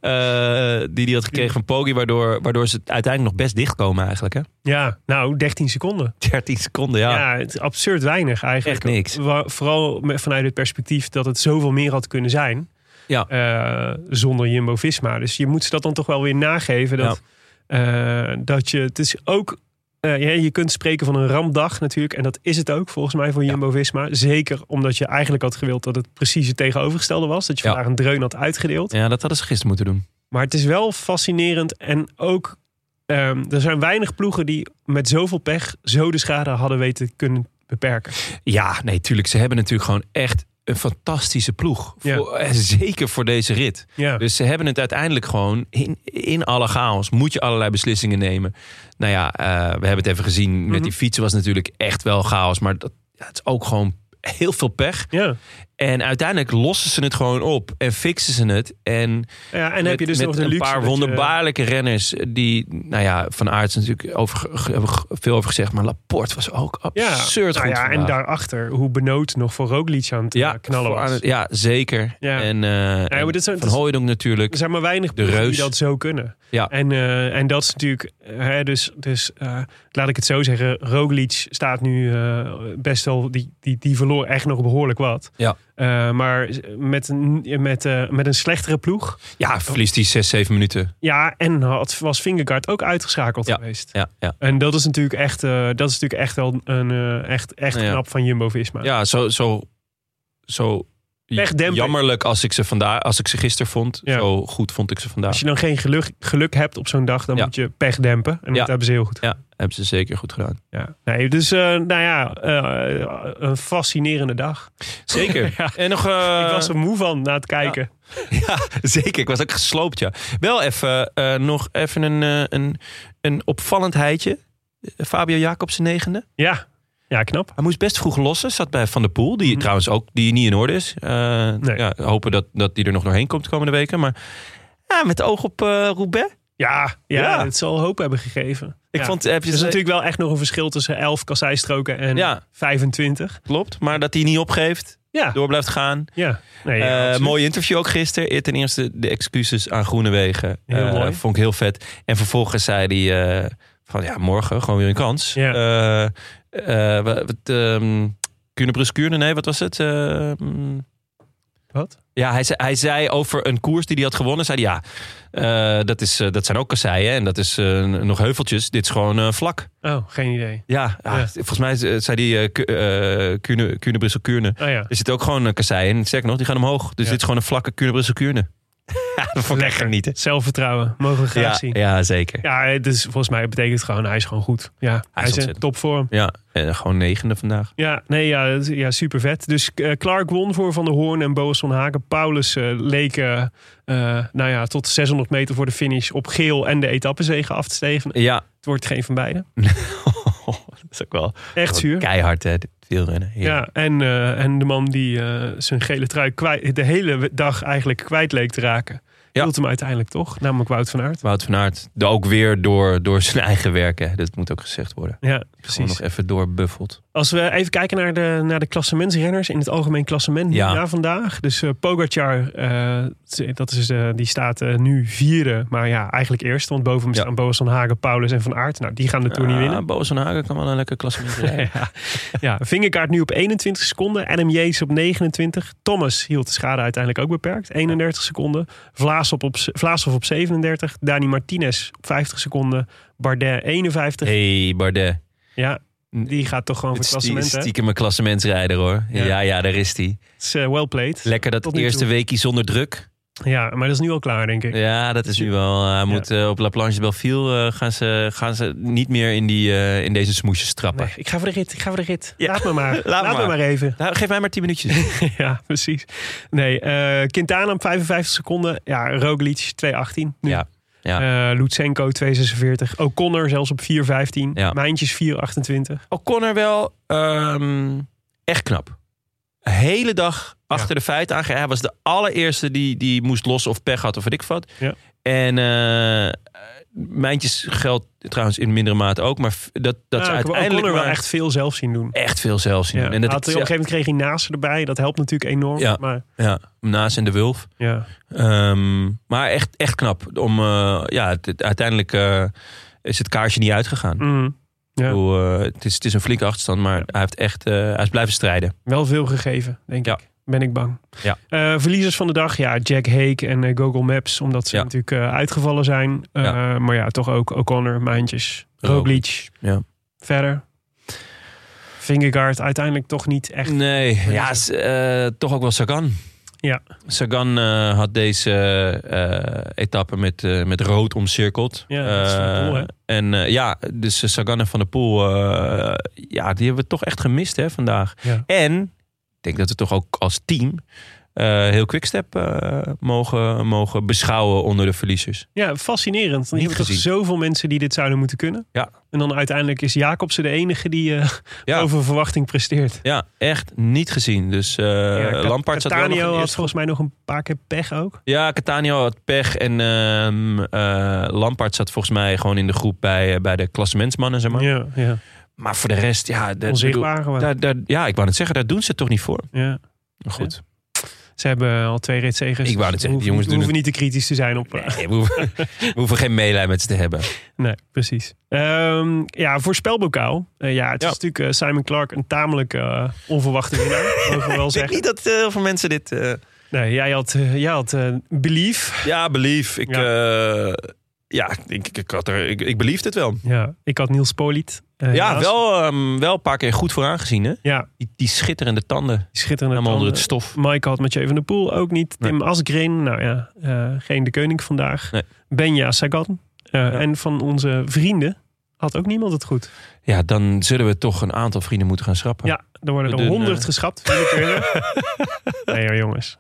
Speaker 1: eh, die hij had gekregen van Poggi. Waardoor, waardoor ze uiteindelijk nog best dichtkomen eigenlijk. Hè?
Speaker 2: Ja, nou, 13 seconden.
Speaker 1: 13 seconden, ja.
Speaker 2: Ja, het is absurd weinig eigenlijk.
Speaker 1: Echt niks.
Speaker 2: Wa- Vooral me- vanuit het perspectief dat het zoveel meer had kunnen zijn.
Speaker 1: Ja.
Speaker 2: eh, zonder Jumbo Visma. Dus je moet ze dat dan toch wel weer nageven. Dat, eh, dat je. Het is ook. eh, ja, je kunt spreken van een rampdag natuurlijk. En dat is het ook volgens mij voor Jumbo Visma. Zeker omdat je eigenlijk had gewild dat het precies het tegenovergestelde was. Dat je
Speaker 1: Ja.
Speaker 2: vandaag een dreun had uitgedeeld.
Speaker 1: Ja, dat hadden ze gisteren moeten doen.
Speaker 2: Maar het is wel fascinerend en ook. ehm, er zijn weinig ploegen die met zoveel pech zo de schade hadden weten kunnen beperken.
Speaker 1: Ja, nee, tuurlijk. Ze hebben natuurlijk gewoon echt een fantastische ploeg.
Speaker 2: Ja.
Speaker 1: Voor, eh, zeker voor deze rit.
Speaker 2: Ja.
Speaker 1: Dus ze hebben het uiteindelijk gewoon in, in alle chaos. Moet je allerlei beslissingen nemen. Nou ja, eh, we hebben het even gezien.
Speaker 2: Mhm.
Speaker 1: Met die fietsen was het natuurlijk echt wel chaos. Maar dat, ja, het is ook gewoon heel veel pech.
Speaker 2: ja.
Speaker 1: En uiteindelijk lossen ze het gewoon op. En fixen ze het. En
Speaker 2: ja en heb je dus
Speaker 1: met
Speaker 2: nog de
Speaker 1: een
Speaker 2: luxe
Speaker 1: paar
Speaker 2: dat je-
Speaker 1: wonderbaarlijke renners. Die, nou ja, Van Aert is natuurlijk over, ge- hebben we veel over gezegd. Maar Laporte was ook
Speaker 2: ja.
Speaker 1: absurd
Speaker 2: nou
Speaker 1: goed
Speaker 2: ja, en
Speaker 1: vandaag.
Speaker 2: daarachter hoe Benoot nog voor Roglic aan het eh, knallen
Speaker 1: voor aan
Speaker 2: was.
Speaker 1: het- ja, zeker.
Speaker 2: Ja.
Speaker 1: En, eh, en
Speaker 2: maar dit zijn-
Speaker 1: Van
Speaker 2: dit-
Speaker 1: Hooijdonk natuurlijk.
Speaker 2: Er zijn maar weinig ploegen
Speaker 1: reus.
Speaker 2: die dat zo kunnen.
Speaker 1: Ja.
Speaker 2: En, eh, en dat is natuurlijk... eh, Hè, dus dus eh, laat ik het zo zeggen. Roglic staat nu eh, best wel... Die, die, die verloor echt nog behoorlijk wat.
Speaker 1: Ja.
Speaker 2: Eh, maar met, een- met, eh, met een slechtere ploeg.
Speaker 1: ja, verliest die 6, 7 minuten.
Speaker 2: Ja, en had, was Vingegaard ook uitgeschakeld
Speaker 1: Ja.
Speaker 2: geweest.
Speaker 1: Ja, ja.
Speaker 2: En dat is natuurlijk echt, eh, dat is natuurlijk echt wel een, eh, echt, echt
Speaker 1: Ja.
Speaker 2: knap van Jumbo-Visma.
Speaker 1: ja zo, zo, zo
Speaker 2: Pechdemper.
Speaker 1: jammerlijk als ik ze, vandaag, als ik ze gisteren vond.
Speaker 2: Ja.
Speaker 1: Zo goed vond ik ze vandaag.
Speaker 2: Als je dan geen geluk, geluk hebt op zo'n dag, dan
Speaker 1: Ja.
Speaker 2: moet je pech dempen. En
Speaker 1: Ja.
Speaker 2: dat hebben ze heel goed.
Speaker 1: Ja, hebben ze zeker goed gedaan.
Speaker 2: Ja. Nee, dus eh, nou ja, eh, een fascinerende dag.
Speaker 1: Zeker.
Speaker 2: Ja.
Speaker 1: En nog... eh,
Speaker 2: Ik was er moe van na het kijken.
Speaker 1: Ja, zeker. Ik was ook gesloopt, ja. Wel even eh, nog even een, eh, een, een opvallendheidje. Fabio Jacobsen negende.
Speaker 2: Ja, ja. knap.
Speaker 1: Hij moest best vroeg lossen. Zat bij Van der Poel, die
Speaker 2: Mhm.
Speaker 1: trouwens ook die niet in orde is. Eh, ja, hopen dat, dat die er nog doorheen komt de komende weken. Maar ja, met oog op eh Roubaix.
Speaker 2: Ja, ja,
Speaker 1: Ja.
Speaker 2: het zal hoop hebben gegeven.
Speaker 1: Ik
Speaker 2: Ja.
Speaker 1: vond, heb je
Speaker 2: er is
Speaker 1: ze-
Speaker 2: natuurlijk wel echt nog een verschil tussen 11 kasseistroken en
Speaker 1: Ja.
Speaker 2: 25.
Speaker 1: klopt, maar dat hij niet opgeeft.
Speaker 2: Ja,
Speaker 1: Door blijft gaan.
Speaker 2: ja. Nee, ja,
Speaker 1: Eh
Speaker 2: absoluut.
Speaker 1: mooi interview ook gisteren. Ten eerste de excuses aan Groenewegen.
Speaker 2: Heel
Speaker 1: Eh,
Speaker 2: mooi.
Speaker 1: Vond ik heel vet. En vervolgens zei hij eh, van ja, morgen gewoon weer een kans.
Speaker 2: Ja.
Speaker 1: Eh, eh, wat, ehm, Kuurne-Brus Kuurne, nee, wat was het? Eh, mm,
Speaker 2: Wat?
Speaker 1: ja, hij zei, hij zei over een koers die hij had gewonnen. Zei hij, ja, eh, dat, is, eh, dat zijn ook kasseien en dat is eh, nog heuveltjes. Dit is gewoon eh, vlak.
Speaker 2: Oh, geen idee.
Speaker 1: Ja, ah,
Speaker 2: Ja.
Speaker 1: volgens mij eh, zei hij eh Kuurne, Brussel Kuurne.
Speaker 2: Oh ja.
Speaker 1: Er zit ook gewoon een kasseien. En sterker nog, die gaan omhoog. Dus
Speaker 2: Ja.
Speaker 1: dit is gewoon een vlakke Kuurne Brussel Kuurne. dat vond ik echt genieten.
Speaker 2: Zelfvertrouwen, mogen we graag
Speaker 1: Ja,
Speaker 2: zien.
Speaker 1: ja, zeker. Ja.
Speaker 2: Ja, dus volgens mij betekent het gewoon, hij is gewoon goed. Ja, hij, is in
Speaker 1: ontzettend.
Speaker 2: topvorm.
Speaker 1: en gewoon negende vandaag.
Speaker 2: Ja, nee, ja, dat is- ja super vet. Dus eh, Clark won voor Van der Hoorn en Boas van Haken. Paulus eh, leek eh, eh, nou ja, tot 600 meter voor de finish op geel en de etappezegen af te steven.
Speaker 1: Ja,
Speaker 2: Het wordt geen van beiden.
Speaker 1: dat is ook wel
Speaker 2: Echt zuur.
Speaker 1: keihard hè, dit wielrennen.
Speaker 2: Ja,
Speaker 1: Oh, Ja.
Speaker 2: en, eh, en de man die eh, zijn gele trui kwijt, de hele dag eigenlijk kwijt leek te raken.
Speaker 1: Ja.
Speaker 2: Hield hem uiteindelijk toch, namelijk Wout van Aert.
Speaker 1: Wout van Aert, de- ook weer door, door zijn eigen werken. Dat moet ook gezegd worden.
Speaker 2: Ja,
Speaker 1: Gewoon
Speaker 2: precies.
Speaker 1: nog even doorbuffeld.
Speaker 2: Als we even kijken naar de, naar de klassementsrenners in het algemeen klassement
Speaker 1: Ja.
Speaker 2: na vandaag. Dus eh, Pogacar, eh, dat is, eh, die staat eh, nu vierde, maar ja, eigenlijk eerst. Want boven hem
Speaker 1: Ja.
Speaker 2: staan Boas van Hagen, Paulus en Van Aert. Nou, die gaan de Tour niet winnen.
Speaker 1: Boos van Hagen kan wel een lekker klassement rijden.
Speaker 2: Ja, Vingerkaart nu op 21 seconden. Adam Yates op 29. Thomas hield de schade uiteindelijk ook beperkt. 31 seconden. Vlaas op, op, Vlaashoff op 37. Dani Martinez op 50 seconden. Bardet 51.
Speaker 1: hey, Bardet.
Speaker 2: Ja, die gaat toch gewoon
Speaker 1: Het
Speaker 2: voor het
Speaker 1: stie,
Speaker 2: klassement, hè?
Speaker 1: stiekem een klassementsrijder hoor.
Speaker 2: Ja.
Speaker 1: Ja, ja, daar is hij.
Speaker 2: Het is, eh, well played.
Speaker 1: Lekker dat
Speaker 2: Tot nu toe.
Speaker 1: eerste weekje zonder druk.
Speaker 2: Ja, maar dat is nu al klaar, denk ik.
Speaker 1: Ja, dat is nu wel. Hij moet eh, op La Planche de Belleville eh, gaan, ze, gaan ze niet meer in, die, eh, in deze smoesjes trappen.
Speaker 2: Nee, ik ga voor de rit, ik ga voor de rit.
Speaker 1: Ja.
Speaker 2: Laat me maar. Laat,
Speaker 1: me
Speaker 2: me
Speaker 1: maar.
Speaker 2: maar even.
Speaker 1: Nou, geef mij maar 10 minuutjes.
Speaker 2: ja, precies. Nee, eh Quintana op 55 seconden. Ja, Roglic 2.18. nu.
Speaker 1: Ja, ja.
Speaker 2: Eh, Lutsenko 2.46. O'Connor zelfs op 4.15.
Speaker 1: Ja. Oh,
Speaker 2: Mijntjes 4.28.
Speaker 1: O'Connor wel ehm, echt knap. hele dag achter de feiten aan. Hij was de allereerste die, die moest lossen of pech had of wat ik wat.
Speaker 2: Ja.
Speaker 1: En eh mijntjes geldt trouwens in mindere mate ook. Maar f- dat, dat ze
Speaker 2: Ja,
Speaker 1: uiteindelijk
Speaker 2: Nou, O'Connor
Speaker 1: maar
Speaker 2: wel echt veel zelf zien doen.
Speaker 1: echt veel zelf zien.
Speaker 2: Ja.
Speaker 1: doen. En dat
Speaker 2: Had-
Speaker 1: ik-
Speaker 2: op een gegeven moment kreeg hij naast erbij. Dat helpt natuurlijk enorm.
Speaker 1: Ja.
Speaker 2: Maar,
Speaker 1: ja, naast en de Wulf.
Speaker 2: ja.
Speaker 1: Ehm, maar echt, echt knap. Om, eh, ja, het- uiteindelijk eh, is het kaarsje niet uitgegaan.
Speaker 2: Mm.
Speaker 1: Ik
Speaker 2: Ja.
Speaker 1: bedoel, eh, het, is, het is een flinke achterstand, maar hij, heeft echt, eh, hij is blijven strijden.
Speaker 2: Wel veel gegeven, denk
Speaker 1: Ja.
Speaker 2: ik. Ben ik bang.
Speaker 1: Ja.
Speaker 2: Eh, verliezers van de dag, ja, Jack Hake en eh, Google Maps. Omdat ze
Speaker 1: Ja.
Speaker 2: natuurlijk eh, uitgevallen zijn. Eh,
Speaker 1: Ja.
Speaker 2: Maar ja, toch ook O'Connor, Mijntjes, Roglic.
Speaker 1: Ja.
Speaker 2: Verder. Fingergaard uiteindelijk toch niet echt.
Speaker 1: Nee, ja, s- eh, toch ook wel Sagan.
Speaker 2: Ja.
Speaker 1: Sagan eh, had deze eh, etappe met, eh, met rood omcirkeld.
Speaker 2: Ja, dat is Van der
Speaker 1: Eh,
Speaker 2: Poel, hè?
Speaker 1: En eh, ja, dus eh, Sagan en Van der Poel, eh, ja, die hebben we toch echt gemist hè, vandaag.
Speaker 2: Ja.
Speaker 1: En ik denk dat we toch ook als team eh, heel Quickstep eh mogen, mogen beschouwen onder de verliezers.
Speaker 2: Ja, fascinerend. Dan
Speaker 1: Niet
Speaker 2: hebben we toch
Speaker 1: gezien.
Speaker 2: zoveel mensen die dit zouden moeten kunnen.
Speaker 1: Ja.
Speaker 2: En dan uiteindelijk is Jacobsen de enige die eh,
Speaker 1: Ja.
Speaker 2: over verwachting presteert.
Speaker 1: Ja, echt niet gezien. Dus eh
Speaker 2: Ja, Cat-
Speaker 1: Lampard zat wel nog in de
Speaker 2: Catania had
Speaker 1: eerste-
Speaker 2: volgens mij nog een paar keer pech ook.
Speaker 1: Ja, Catania had pech. En ehm eh, Lampard zat volgens mij gewoon in de groep bij, eh, bij de klassementsmannen. Zeg maar.
Speaker 2: Ja, ja.
Speaker 1: maar voor de rest, ja... dat-
Speaker 2: Onzichtbaar
Speaker 1: bedoel,
Speaker 2: gewoon.
Speaker 1: daar, daar, ja, ik wou het zeggen, daar doen ze het toch niet voor.
Speaker 2: Ja.
Speaker 1: Maar Goed.
Speaker 2: Ze hebben al twee ritzegers.
Speaker 1: Ik wou net
Speaker 2: dus we
Speaker 1: zeggen,
Speaker 2: hoeven
Speaker 1: jongens
Speaker 2: niet- we
Speaker 1: doen
Speaker 2: hoeven niet te kritisch te zijn op... eh,
Speaker 1: Nee, we, hoeven, we hoeven geen meelij met ze te hebben.
Speaker 2: Nee, precies. Ehm, ja, voorspelbokaal. Eh, ja, het
Speaker 1: Ja.
Speaker 2: is natuurlijk eh, Simon Clark een tamelijk eh, onverwachte winnaar. mogen we wel
Speaker 1: Ik denk
Speaker 2: zeggen.
Speaker 1: niet dat eh, heel veel mensen dit... eh,
Speaker 2: Nee, jij had, eh, jij had eh, Belief.
Speaker 1: ja, belief. Ik,
Speaker 2: Ja.
Speaker 1: ja. ja, ik, ik, ik, had er, ik, ik beliefde het wel.
Speaker 2: Ja, ik had Niels Poliet. Eh,
Speaker 1: Ja,
Speaker 2: helaas.
Speaker 1: wel, ehm, wel een paar keer goed vooraan gezien. Hè?
Speaker 2: Ja,
Speaker 1: Die, die schitterende tanden.
Speaker 2: die schitterende
Speaker 1: Helemaal onder het
Speaker 2: tanden.
Speaker 1: stof.
Speaker 2: Mike had Mathieu van der Poel ook niet.
Speaker 1: Nee.
Speaker 2: Tim Asgreen, nou ja, eh, geen de koning vandaag.
Speaker 1: Nee.
Speaker 2: Benja Sagan. Eh, En van onze vrienden had ook niemand het goed.
Speaker 1: Ja, dan zullen we toch een aantal vrienden moeten gaan schrappen.
Speaker 2: Ja, er worden
Speaker 1: We
Speaker 2: er
Speaker 1: doen,
Speaker 2: honderd
Speaker 1: eh,
Speaker 2: geschrapt. willekeurig. nee hoor, jongens.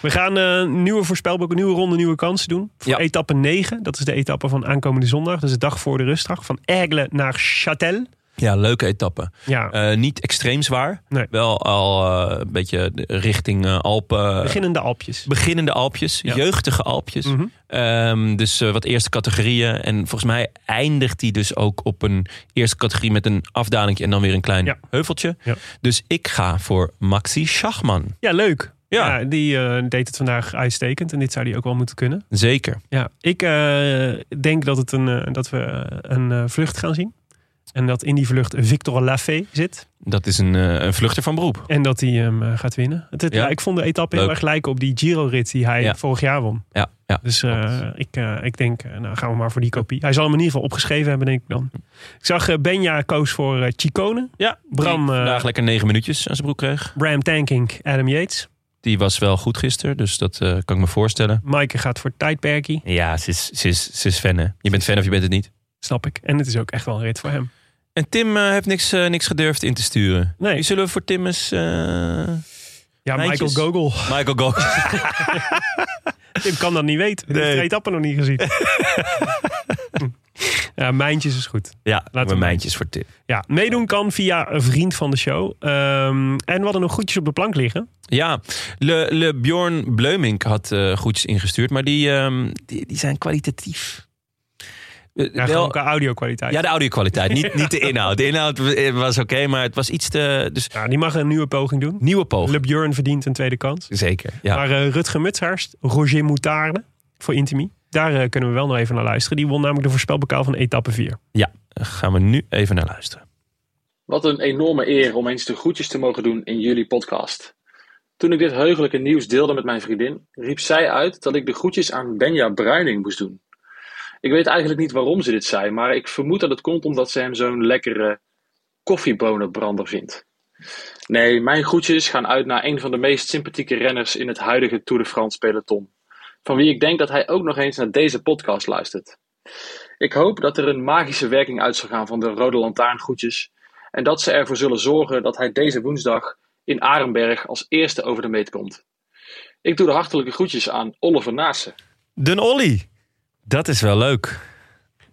Speaker 2: We gaan eh, nieuwe voorspelboek, nieuwe ronde, nieuwe kansen doen. Voor
Speaker 1: Ja.
Speaker 2: etappe 9. Dat is de etappe van aankomende zondag. Dus de dag voor de rustdag. Van Aigle naar Châtel.
Speaker 1: Ja, leuke etappe.
Speaker 2: Ja,
Speaker 1: Eh, niet extreem zwaar.
Speaker 2: Nee.
Speaker 1: Wel al eh, een beetje de- richting eh, Alpen.
Speaker 2: beginnende Alpjes.
Speaker 1: Beginnende Alpjes,
Speaker 2: Ja.
Speaker 1: jeugdige Alpjes.
Speaker 2: Mhm.
Speaker 1: Ehm, dus eh, wat eerste categorieën. En volgens mij eindigt die dus ook op een eerste categorie met een afdaling en dan weer een klein
Speaker 2: Ja.
Speaker 1: heuveltje.
Speaker 2: Ja.
Speaker 1: Dus ik ga voor Maxi Schachman.
Speaker 2: Ja, leuk.
Speaker 1: Ja.
Speaker 2: die eh, deed het vandaag uitstekend. En dit zou die ook wel moeten kunnen.
Speaker 1: Zeker.
Speaker 2: Ja, ik eh, denk dat, het een, eh, dat we eh, een eh, vlucht gaan zien. En dat in die vlucht Victor Lafay zit.
Speaker 1: Dat is een, eh, een vluchter van beroep.
Speaker 2: En dat hij hem eh, gaat winnen. Het, het-
Speaker 1: Ja.
Speaker 2: Ik vond de etappe heel
Speaker 1: Leuk.
Speaker 2: erg lijken op die Giro-rit die hij
Speaker 1: Ja.
Speaker 2: vorig jaar won.
Speaker 1: Ja, ja.
Speaker 2: Dus eh, ik, eh, ik denk, eh, nou gaan we maar voor die kopie. Hij zal hem in ieder geval opgeschreven hebben, denk ik dan. Ik zag eh, Benja koos voor eh, Chicone,
Speaker 1: ja
Speaker 2: Bram,
Speaker 1: die
Speaker 2: eh,
Speaker 1: vandaag lekker negen minuutjes aan zijn broek kreeg.
Speaker 2: Bram Tankink, Adam Yates.
Speaker 1: Die was wel goed gisteren, dus dat eh, kan ik me voorstellen.
Speaker 2: Maaike gaat voor Tijdperkie,
Speaker 1: Ja, ze is, ze is, ze is fan, hè? Je bent fan of je bent het niet.
Speaker 2: snap ik. En het is ook echt wel een rit voor hem.
Speaker 1: En Tim eh, heeft niks, eh, niks gedurfd in te sturen.
Speaker 2: Nee.
Speaker 1: Nu zullen we voor Tim eens... eh,
Speaker 2: Ja,
Speaker 1: Mijntjes.
Speaker 2: Michael Gogol.
Speaker 1: Michael Goff.
Speaker 2: Ik kan dat niet weten. Ik
Speaker 1: Nee.
Speaker 2: heb de etappe nog niet gezien. ja, Mijntjes is goed.
Speaker 1: ja,
Speaker 2: we
Speaker 1: laten we
Speaker 2: maar.
Speaker 1: mijntjes voor Tim.
Speaker 2: Ja, meedoen kan via een vriend van de show. Ehm, en we hadden nog goedjes op de plank liggen.
Speaker 1: Ja, Le, Le Bjorn Bleumink had eh goedjes ingestuurd, maar die, ehm, die, die zijn kwalitatief. Eh,
Speaker 2: Ja,
Speaker 1: wel-
Speaker 2: gewoon qua audio-kwaliteit.
Speaker 1: ja,
Speaker 2: Ja,
Speaker 1: de audio-kwaliteit, niet, niet de inhoud. De inhoud eh, was oké, maar het was iets te... Dus
Speaker 2: die mag een nieuwe poging doen.
Speaker 1: nieuwe poging.
Speaker 2: Le Björn verdient een tweede kans.
Speaker 1: Zeker, ja.
Speaker 2: Maar eh, Rutger Mutsaerst, Roger Moutarde voor Intimi. Daar eh, kunnen we wel nog even naar luisteren. Die won namelijk de voorspelbokaal van etappe 4.
Speaker 1: ja. Daar Eh, gaan we nu even naar luisteren.
Speaker 5: Wat een enorme eer om eens de groetjes te mogen doen in jullie podcast. Toen ik dit heugelijke nieuws deelde met mijn vriendin, riep zij uit dat ik de groetjes aan Benja Bruining moest doen. Ik weet eigenlijk niet waarom ze dit zei, maar ik vermoed dat het komt omdat ze hem zo'n lekkere koffiebonenbrander vindt. Nee, mijn groetjes gaan uit naar een van de meest sympathieke renners in het huidige Tour de France peloton. Van wie ik denk dat hij ook nog eens naar deze podcast luistert. Ik hoop dat er een magische werking uit zal gaan van de Rode Lantaarn groetjes en dat ze ervoor zullen zorgen dat hij deze woensdag in Arenberg als eerste over de meet komt. Ik doe de hartelijke groetjes aan Oliver Naassen.
Speaker 1: Den Olly. Dat is wel leuk.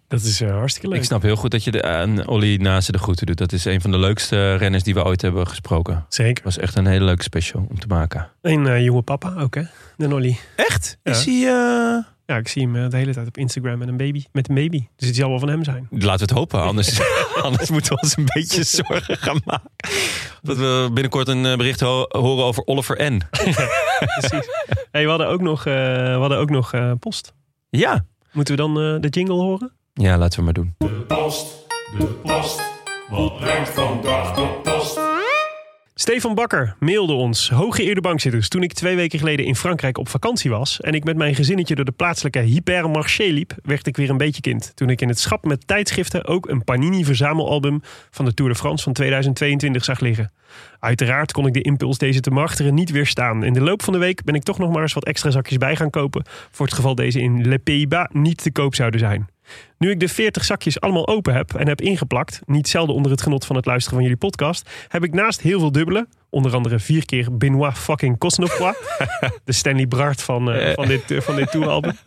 Speaker 2: Dat is eh, hartstikke leuk.
Speaker 1: Ik snap heel goed dat je de, aan Olly Nase de groeten doet. Dat is een van de leukste renners die we ooit hebben gesproken.
Speaker 2: Zeker.
Speaker 1: was echt een hele leuke special om te maken.
Speaker 2: En eh, jonge papa ook, hè? De Nolly.
Speaker 1: Echt?
Speaker 2: Ja.
Speaker 1: Is hij... eh,
Speaker 2: Ja, ik zie hem eh, de hele tijd op Instagram met een baby. Met een baby. Dus het zal wel van hem zijn.
Speaker 1: Laten we het hopen, anders, anders moeten we ons een beetje zorgen gaan maken. Dat we binnenkort een eh, bericht ho- horen over Oliver N.
Speaker 2: Precies. hey, we hadden ook nog, eh, we hadden ook nog eh, post.
Speaker 1: Ja.
Speaker 2: Moeten we dan eh, de jingle horen?
Speaker 1: Ja, laten we maar doen.
Speaker 2: Stefan Bakker mailde ons. Hooggeëerde bankzitters. Toen ik twee weken geleden in Frankrijk op vakantie was... en ik met mijn gezinnetje door de plaatselijke hypermarché liep... werd ik weer een beetje kind. Toen ik in het schap met tijdschriften... ook een Panini-verzamelalbum van de Tour de France van 2022 zag liggen. Uiteraard kon ik de impuls deze te marteren niet weerstaan. In de loop van de week ben ik toch nog maar eens wat extra zakjes bij gaan kopen... voor het geval deze in Le Pays-Bas niet te koop zouden zijn. Nu ik de 40 zakjes allemaal open heb en heb ingeplakt, niet zelden onder het genot van het luisteren van jullie podcast, heb ik naast heel veel dubbele, onder andere vier keer Benoit fucking Cosnefroid, de Stanley Brard van, eh, van dit, eh, van dit touralbum.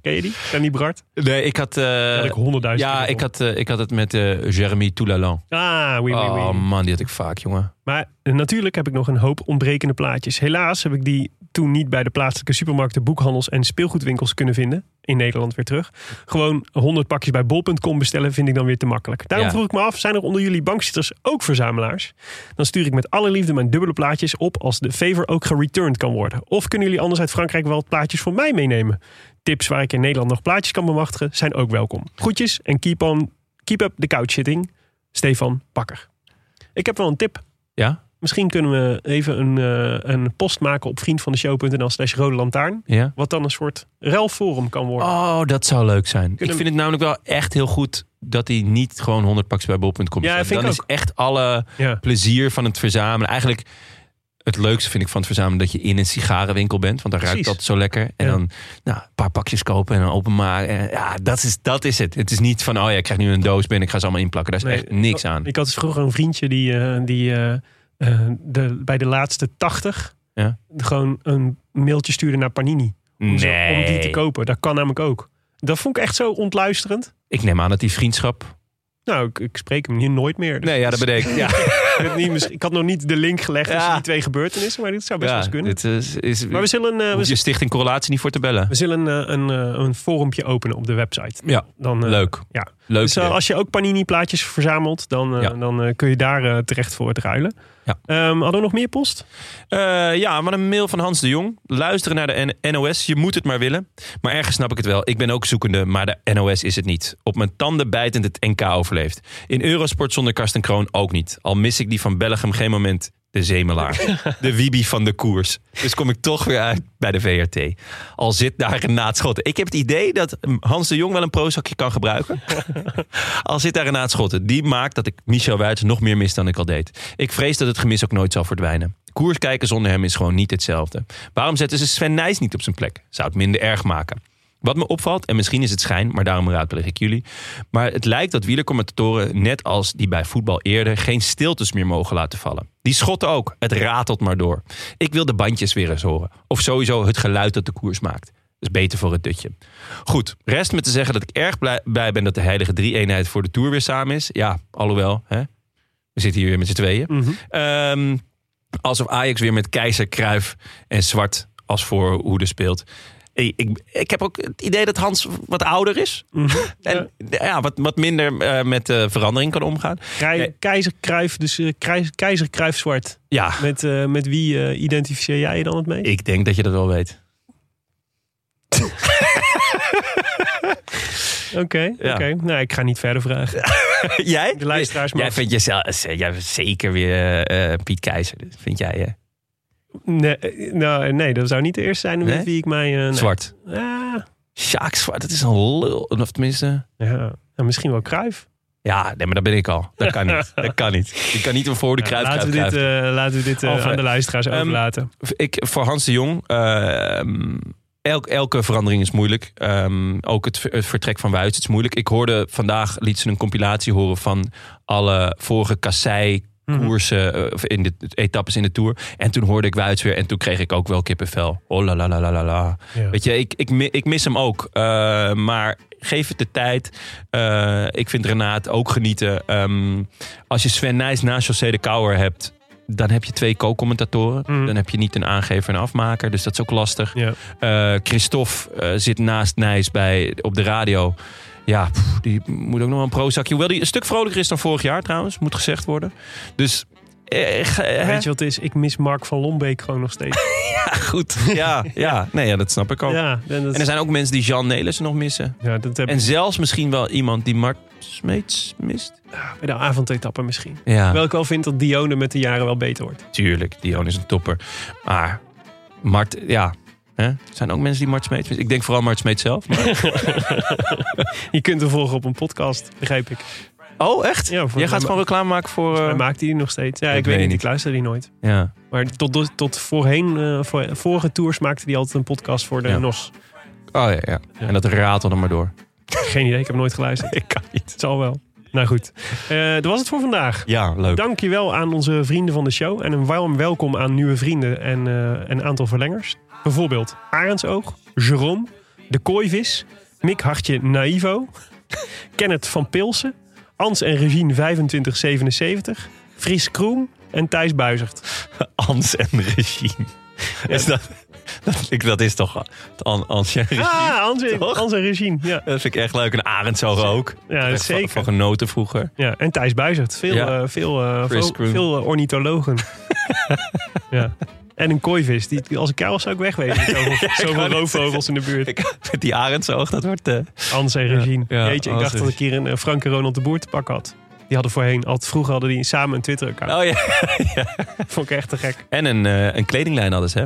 Speaker 2: Ken je die? Stanley Brard?
Speaker 1: Nee, ik had... eh,
Speaker 2: Had ik honderdduizend.
Speaker 1: ja,
Speaker 2: keer
Speaker 1: ik had, eh, ik had het met eh Jeremy Toulalan.
Speaker 2: Ah, oui, oui, oui.
Speaker 1: Oh man, die had ik vaak, jongen.
Speaker 2: Maar eh, natuurlijk heb ik nog een hoop ontbrekende plaatjes. Helaas heb ik die toen niet bij de plaatselijke supermarkten, boekhandels en speelgoedwinkels kunnen vinden. In Nederland weer terug. Gewoon 100 pakjes bij bol.com bestellen vind ik dan weer te makkelijk. Daarom
Speaker 1: Ja.
Speaker 2: vroeg ik me af, zijn er onder jullie bankzitters ook verzamelaars? Dan stuur ik met alle liefde mijn dubbele plaatjes op als de favor ook gereturned kan worden. Of kunnen jullie anders uit Frankrijk wel plaatjes voor mij meenemen? Tips waar ik in Nederland nog plaatjes kan bemachtigen zijn ook welkom. Groetjes en keep, on, keep up the couch sitting. Stefan Bakker. Ik heb wel een tip.
Speaker 1: Ja?
Speaker 2: Misschien kunnen we even een, eh, een post maken op vriendvandeshow.nl slash rode lantaarn.
Speaker 1: Ja?
Speaker 2: Wat dan een soort ruilforum kan worden.
Speaker 1: Oh, dat zou leuk zijn.
Speaker 2: Kunnen-
Speaker 1: Ik vind het namelijk wel echt heel goed dat hij niet gewoon 100 pakjes bij bol.com
Speaker 2: Ja,
Speaker 1: staat.
Speaker 2: vind ik
Speaker 1: Dan is
Speaker 2: ook.
Speaker 1: echt alle
Speaker 2: Ja.
Speaker 1: plezier van het verzamelen. Eigenlijk het leukste vind ik van het verzamelen dat je in een sigarenwinkel bent. Want daar ruikt
Speaker 2: Precies.
Speaker 1: dat zo lekker. En
Speaker 2: Ja.
Speaker 1: dan nou, een paar pakjes kopen en dan openmaken. En Ja, dat is, dat is het. Het is niet van, oh ja, ik krijg nu een doos binnen. Ik ga ze allemaal inplakken. Daar is
Speaker 2: Nee,
Speaker 1: echt niks aan.
Speaker 2: Ik had dus vroeger een vriendje die, eh, die eh, eh, de, bij de laatste 80
Speaker 1: Ja.
Speaker 2: gewoon een mailtje stuurde naar Panini. Om, ze-
Speaker 1: Nee.
Speaker 2: om die te kopen. Dat kan namelijk ook. Dat vond ik echt zo ontluisterend.
Speaker 1: Ik neem aan dat die vriendschap...
Speaker 2: Nou, ik, ik spreek hem hier nooit meer. Dus
Speaker 1: Nee, ja, dat
Speaker 2: dus
Speaker 1: bedenk ik. Ja,
Speaker 2: ik, weet niet, misschien- ik had nog niet de link gelegd tussen
Speaker 1: Ja.
Speaker 2: die twee gebeurtenissen, maar dit zou best wel
Speaker 1: ja
Speaker 2: eens kunnen.
Speaker 1: dit is... is
Speaker 2: Maar we zullen, eh, we
Speaker 1: hoef je stichting correlatie niet voor te bellen.
Speaker 2: We zullen eh, een, eh, een forumpje openen op de website.
Speaker 1: Ja,
Speaker 2: Dan, eh,
Speaker 1: leuk.
Speaker 2: Ja.
Speaker 1: Leuk.
Speaker 2: Dus eh,
Speaker 1: idee.
Speaker 2: als je ook Panini-plaatjes verzamelt, dan, eh,
Speaker 1: Ja.
Speaker 2: dan eh, kun je daar eh, terecht voor het ruilen.
Speaker 1: Ja.
Speaker 2: Ehm, hadden we nog meer post?
Speaker 1: Eh, ja, maar een mail van Hans de Jong. Luisteren naar de N- NOS, je moet het maar willen. Maar ergens snap ik het wel. Ik ben ook zoekende, maar de NOS is het niet. Op mijn tanden bijtend het NK overleefd. In Eurosport zonder Karsten Kroon ook niet. Al mis ik die van Belgium geen moment de zemelaar. De wiebi van de koers. Dus kom ik toch weer uit bij de VRT. Al zit daar Renaat Schotten. Ik heb het idee dat mm, Hans de Jong wel een prozakje kan gebruiken. Al zit daar Renaat Schotten. Die maakt dat ik Michel Wuits nog meer mis dan ik al deed. Ik vrees dat het gemis ook nooit zal verdwijnen. Koers kijken zonder hem is gewoon niet hetzelfde. Waarom zetten ze Sven Nijs niet op zijn plek? Zou het minder erg maken. Wat me opvalt, en misschien is het schijn, maar daarom raadpleeg ik jullie. Maar het lijkt dat wielercommentatoren, net als die bij voetbal eerder, geen stiltes meer mogen laten vallen. Die schotten ook, het ratelt maar door. Ik wil de bandjes weer eens horen. Of sowieso het geluid dat de koers maakt. Dat is beter voor het dutje. Goed, rest me te zeggen dat ik erg blij, blij ben dat de heilige drie-eenheid voor de Tour weer samen is. Ja, alhoewel, hè? we zitten hier weer met z'n tweeën.
Speaker 2: Mhm.
Speaker 1: Ehm, alsof Ajax weer met keizer, kruif en zwart als voorhoede speelt. Ik, ik, ik heb ook het idee dat Hans wat ouder is.
Speaker 2: Mhm.
Speaker 1: en ja, wat, wat minder eh, met eh, verandering kan omgaan.
Speaker 2: Krij-
Speaker 1: Nee.
Speaker 2: Keizer Kruif, dus eh, Krij- Keizer Kruif Zwart.
Speaker 1: Ja,
Speaker 2: Met, eh, met wie eh, identificeer jij je dan het meest?
Speaker 1: ik denk dat je dat wel weet.
Speaker 2: Oké, oké.
Speaker 1: Ja.
Speaker 2: Nou, ik ga niet verder vragen.
Speaker 1: jij?
Speaker 2: De luisteraars
Speaker 1: Jij
Speaker 2: mag-
Speaker 1: vindt jezelf eh, jij bent zeker weer eh, Piet Keizer. Dat Vind jij eh,
Speaker 2: Nee, eh, nou, nee, dat zou niet de eerste zijn met
Speaker 1: Nee?
Speaker 2: wie ik mij... eh, nee.
Speaker 1: zwart?
Speaker 2: Ah,
Speaker 1: Sjaak Zwart, dat is een lul. Of tenminste...
Speaker 2: ja. Nou, misschien wel Kruif.
Speaker 1: Ja, nee, maar dat ben ik al. Dat kan niet. Dat kan niet. Ik kan niet een voor de kruid
Speaker 2: laten, we dit, eh, laten we dit eh,
Speaker 1: Alfred.
Speaker 2: aan de luisteraars
Speaker 1: Ehm,
Speaker 2: overlaten.
Speaker 1: ik, voor Hans de Jong, ehm, elk, elke verandering is moeilijk. Ehm, ook het, ver- het vertrek van Wuits is moeilijk. Ik hoorde vandaag, liet ze een compilatie horen van alle vorige kassei koersen,
Speaker 2: Mhm.
Speaker 1: eh, of in de etappes in de Tour. En toen hoorde ik Wuits weer en toen kreeg ik ook wel kippenvel. Oh la la la la la la.
Speaker 2: Ja.
Speaker 1: Weet je, ik, ik, mi- ik mis hem ook. Eh, maar geef het de tijd. Eh, ik vind Renaat ook genieten. Ehm, als je Sven Nijs naast José de Kouwer hebt... Dan heb je twee co-commentatoren.
Speaker 2: Mhm.
Speaker 1: Dan heb je niet een aangever en een afmaker. Dus dat is ook lastig.
Speaker 2: Ja.
Speaker 1: Eh, Christophe eh, zit naast Nijs bij, op de radio. Ja, pff, die moet ook nog wel een prozakje. Hoewel die een stuk vrolijker is dan vorig jaar trouwens, moet gezegd worden. Dus eh, ge- hè?
Speaker 2: Weet je wat het is? Ik mis Mark van Lombeek gewoon nog steeds.
Speaker 1: goed. Ja, ja. Nee, ja, dat snap ik ook.
Speaker 2: ja, en dat,
Speaker 1: Oh. En er zijn ook mensen die Jean Nelissen nog missen.
Speaker 2: ja, dat heb
Speaker 1: En
Speaker 2: ik
Speaker 1: zelfs misschien wel iemand die Mark Smeets mist.
Speaker 2: bij de avondetappen misschien.
Speaker 1: Ja,
Speaker 2: Wel ik wel vind dat Dione met de jaren wel beter wordt.
Speaker 1: tuurlijk. Dion is een topper. Maar Mart, ja. hè? Er zijn ook mensen die Mart Smeets missen. Ik denk vooral Mart Smeets zelf. maar-
Speaker 2: Je kunt hem volgen op een podcast, begrijp ik.
Speaker 1: Oh, echt?
Speaker 2: Ja, voor
Speaker 1: Jij
Speaker 2: mij
Speaker 1: gaat
Speaker 2: ma-
Speaker 1: gewoon reclame maken voor... eh,
Speaker 2: Hij maakt die nog steeds. Ja, ik,
Speaker 1: ik
Speaker 2: weet
Speaker 1: weet
Speaker 2: niet,
Speaker 1: niet.
Speaker 2: ik luister die nooit.
Speaker 1: Ja.
Speaker 2: Maar tot, tot, tot voorheen, eh, voor, vorige tours maakte hij altijd een podcast voor de
Speaker 1: Ja.
Speaker 2: NOS.
Speaker 1: Oh ja, ja. En dat ratelde maar door.
Speaker 2: Geen idee, ik heb nooit geluisterd.
Speaker 1: Ik kan niet.
Speaker 2: Het zal wel. Nou goed, Eh dat was het voor vandaag.
Speaker 1: Ja, leuk.
Speaker 2: Dankjewel aan onze vrienden van de show. En een warm welkom aan nieuwe vrienden en eh, een aantal verlengers. Bijvoorbeeld Arendsoog, Jerome, De Kooivis, Mick Hartje Naivo, Kenneth van Pilsen, Ans en Regine 2577, Fris Kroen en Thijs Buizert.
Speaker 1: Ans en regime. Is dat, dat, ik, dat is toch het An, Ans en regime?
Speaker 2: Ah, Ans, en-
Speaker 1: Toch?
Speaker 2: Ans en Regine. Ja.
Speaker 1: Dat vind ik echt leuk. Een arendzoog ook.
Speaker 2: Ja,
Speaker 1: Echt van-
Speaker 2: zeker.
Speaker 1: Van genoten vroeger.
Speaker 2: Ja, en Thijs Buizert. Veel,
Speaker 1: Ja.
Speaker 2: eh, veel, eh,
Speaker 1: Chris
Speaker 2: veel,
Speaker 1: Kroon.
Speaker 2: veel, eh, ornithologen. ja. En een kooivis. Die, die- als ik jou was, zou ik wegwezen. Zoveel, zoveel
Speaker 1: wou net
Speaker 2: roofvogels in de buurt.
Speaker 1: Ik, die arendzoog, dat wordt... eh,
Speaker 2: Hans en Regine.
Speaker 1: ja,
Speaker 2: Jeetje, ik
Speaker 1: Hans
Speaker 2: dacht
Speaker 1: en
Speaker 2: dat ik hier een eh, Frank en Ronald de Boer te pak had. Die hadden voorheen, al vroeger hadden die samen een Twitter-account.
Speaker 1: oh ja.
Speaker 2: Vond ik echt te gek.
Speaker 1: En een, eh, een kledinglijn hadden ze, hè?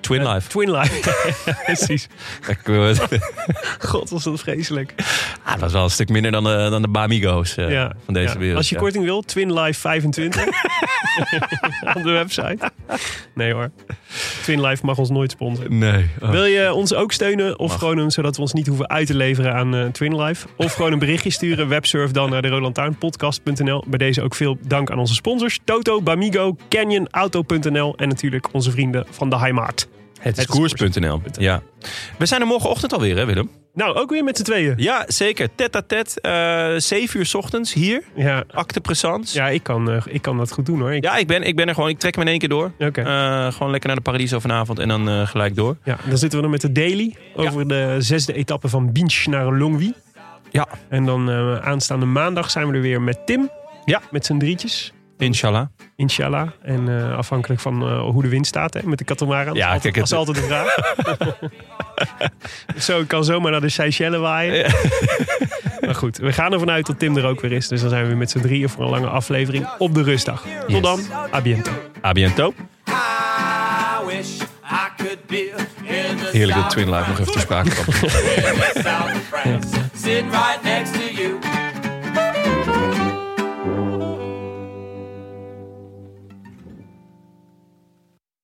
Speaker 1: Twin Life.
Speaker 2: Twin Life. Ja, Precies.
Speaker 1: Ik wil het-
Speaker 2: God, was dat vreselijk.
Speaker 1: ah, dat was wel een stuk minder dan de, dan de Bamigo's eh,
Speaker 2: Ja.
Speaker 1: van deze
Speaker 2: Ja.
Speaker 1: wereld.
Speaker 2: Als je
Speaker 1: ja.
Speaker 2: korting wil, Twin Life 25. Op de website. Nee hoor. Twin Life mag ons nooit sponsoren.
Speaker 1: Nee. Oh.
Speaker 2: Wil je ons ook steunen? Of gewoon een, zodat we ons niet hoeven uit te leveren aan eh, Twin Life. Of gewoon een berichtje sturen. Websurf dan naar de Rolandtuinpodcast.nl. Bij deze ook veel dank aan onze sponsors. Toto, Bamigo, Canyon, Auto.nl. En natuurlijk onze vrienden van de Heimaat.
Speaker 1: Het is
Speaker 2: Het is
Speaker 1: koers.nl. Ja. We zijn er morgenochtend alweer, hè Willem?
Speaker 2: Nou, ook weer met z'n tweeën.
Speaker 1: Ja, zeker. Tet à tet. eh 7 uur 's ochtends hier.
Speaker 2: Ja,
Speaker 1: Acte présence.
Speaker 2: ja ik, kan, eh, ik kan dat goed doen hoor. Ik-
Speaker 1: Ja, ik ben, ik ben er gewoon. Ik trek me in één keer door.
Speaker 2: Oké.
Speaker 1: Eh, gewoon lekker naar de Paradiso vanavond en dan eh, gelijk door.
Speaker 2: Ja, dan zitten we dan met de Daily. Over de zesde etappe van Binch naar Longwy.
Speaker 1: Ja.
Speaker 2: En dan eh, aanstaande maandag zijn we er weer met Tim.
Speaker 1: Ja.
Speaker 2: Met z'n drietjes.
Speaker 1: Inshallah.
Speaker 2: Inshallah. En eh, afhankelijk van eh, hoe de wind staat hè, met de katamaran.
Speaker 1: Ja,
Speaker 2: dat is altijd,
Speaker 1: kijk, het-
Speaker 2: dat is altijd de vraag. Zo, ik kan zomaar naar de Seychelles waaien. maar goed, we gaan ervan uit dat Tim er ook weer is. Dus dan zijn we weer met z'n drieën voor een lange aflevering op de rustdag. Tot dan, a biento.
Speaker 1: A biento.
Speaker 4: I wish I could be in the
Speaker 1: Heerlijke
Speaker 4: south
Speaker 1: twin
Speaker 4: of
Speaker 1: life nog even
Speaker 4: France.
Speaker 1: te sprake.
Speaker 4: In the south of France. Sitting right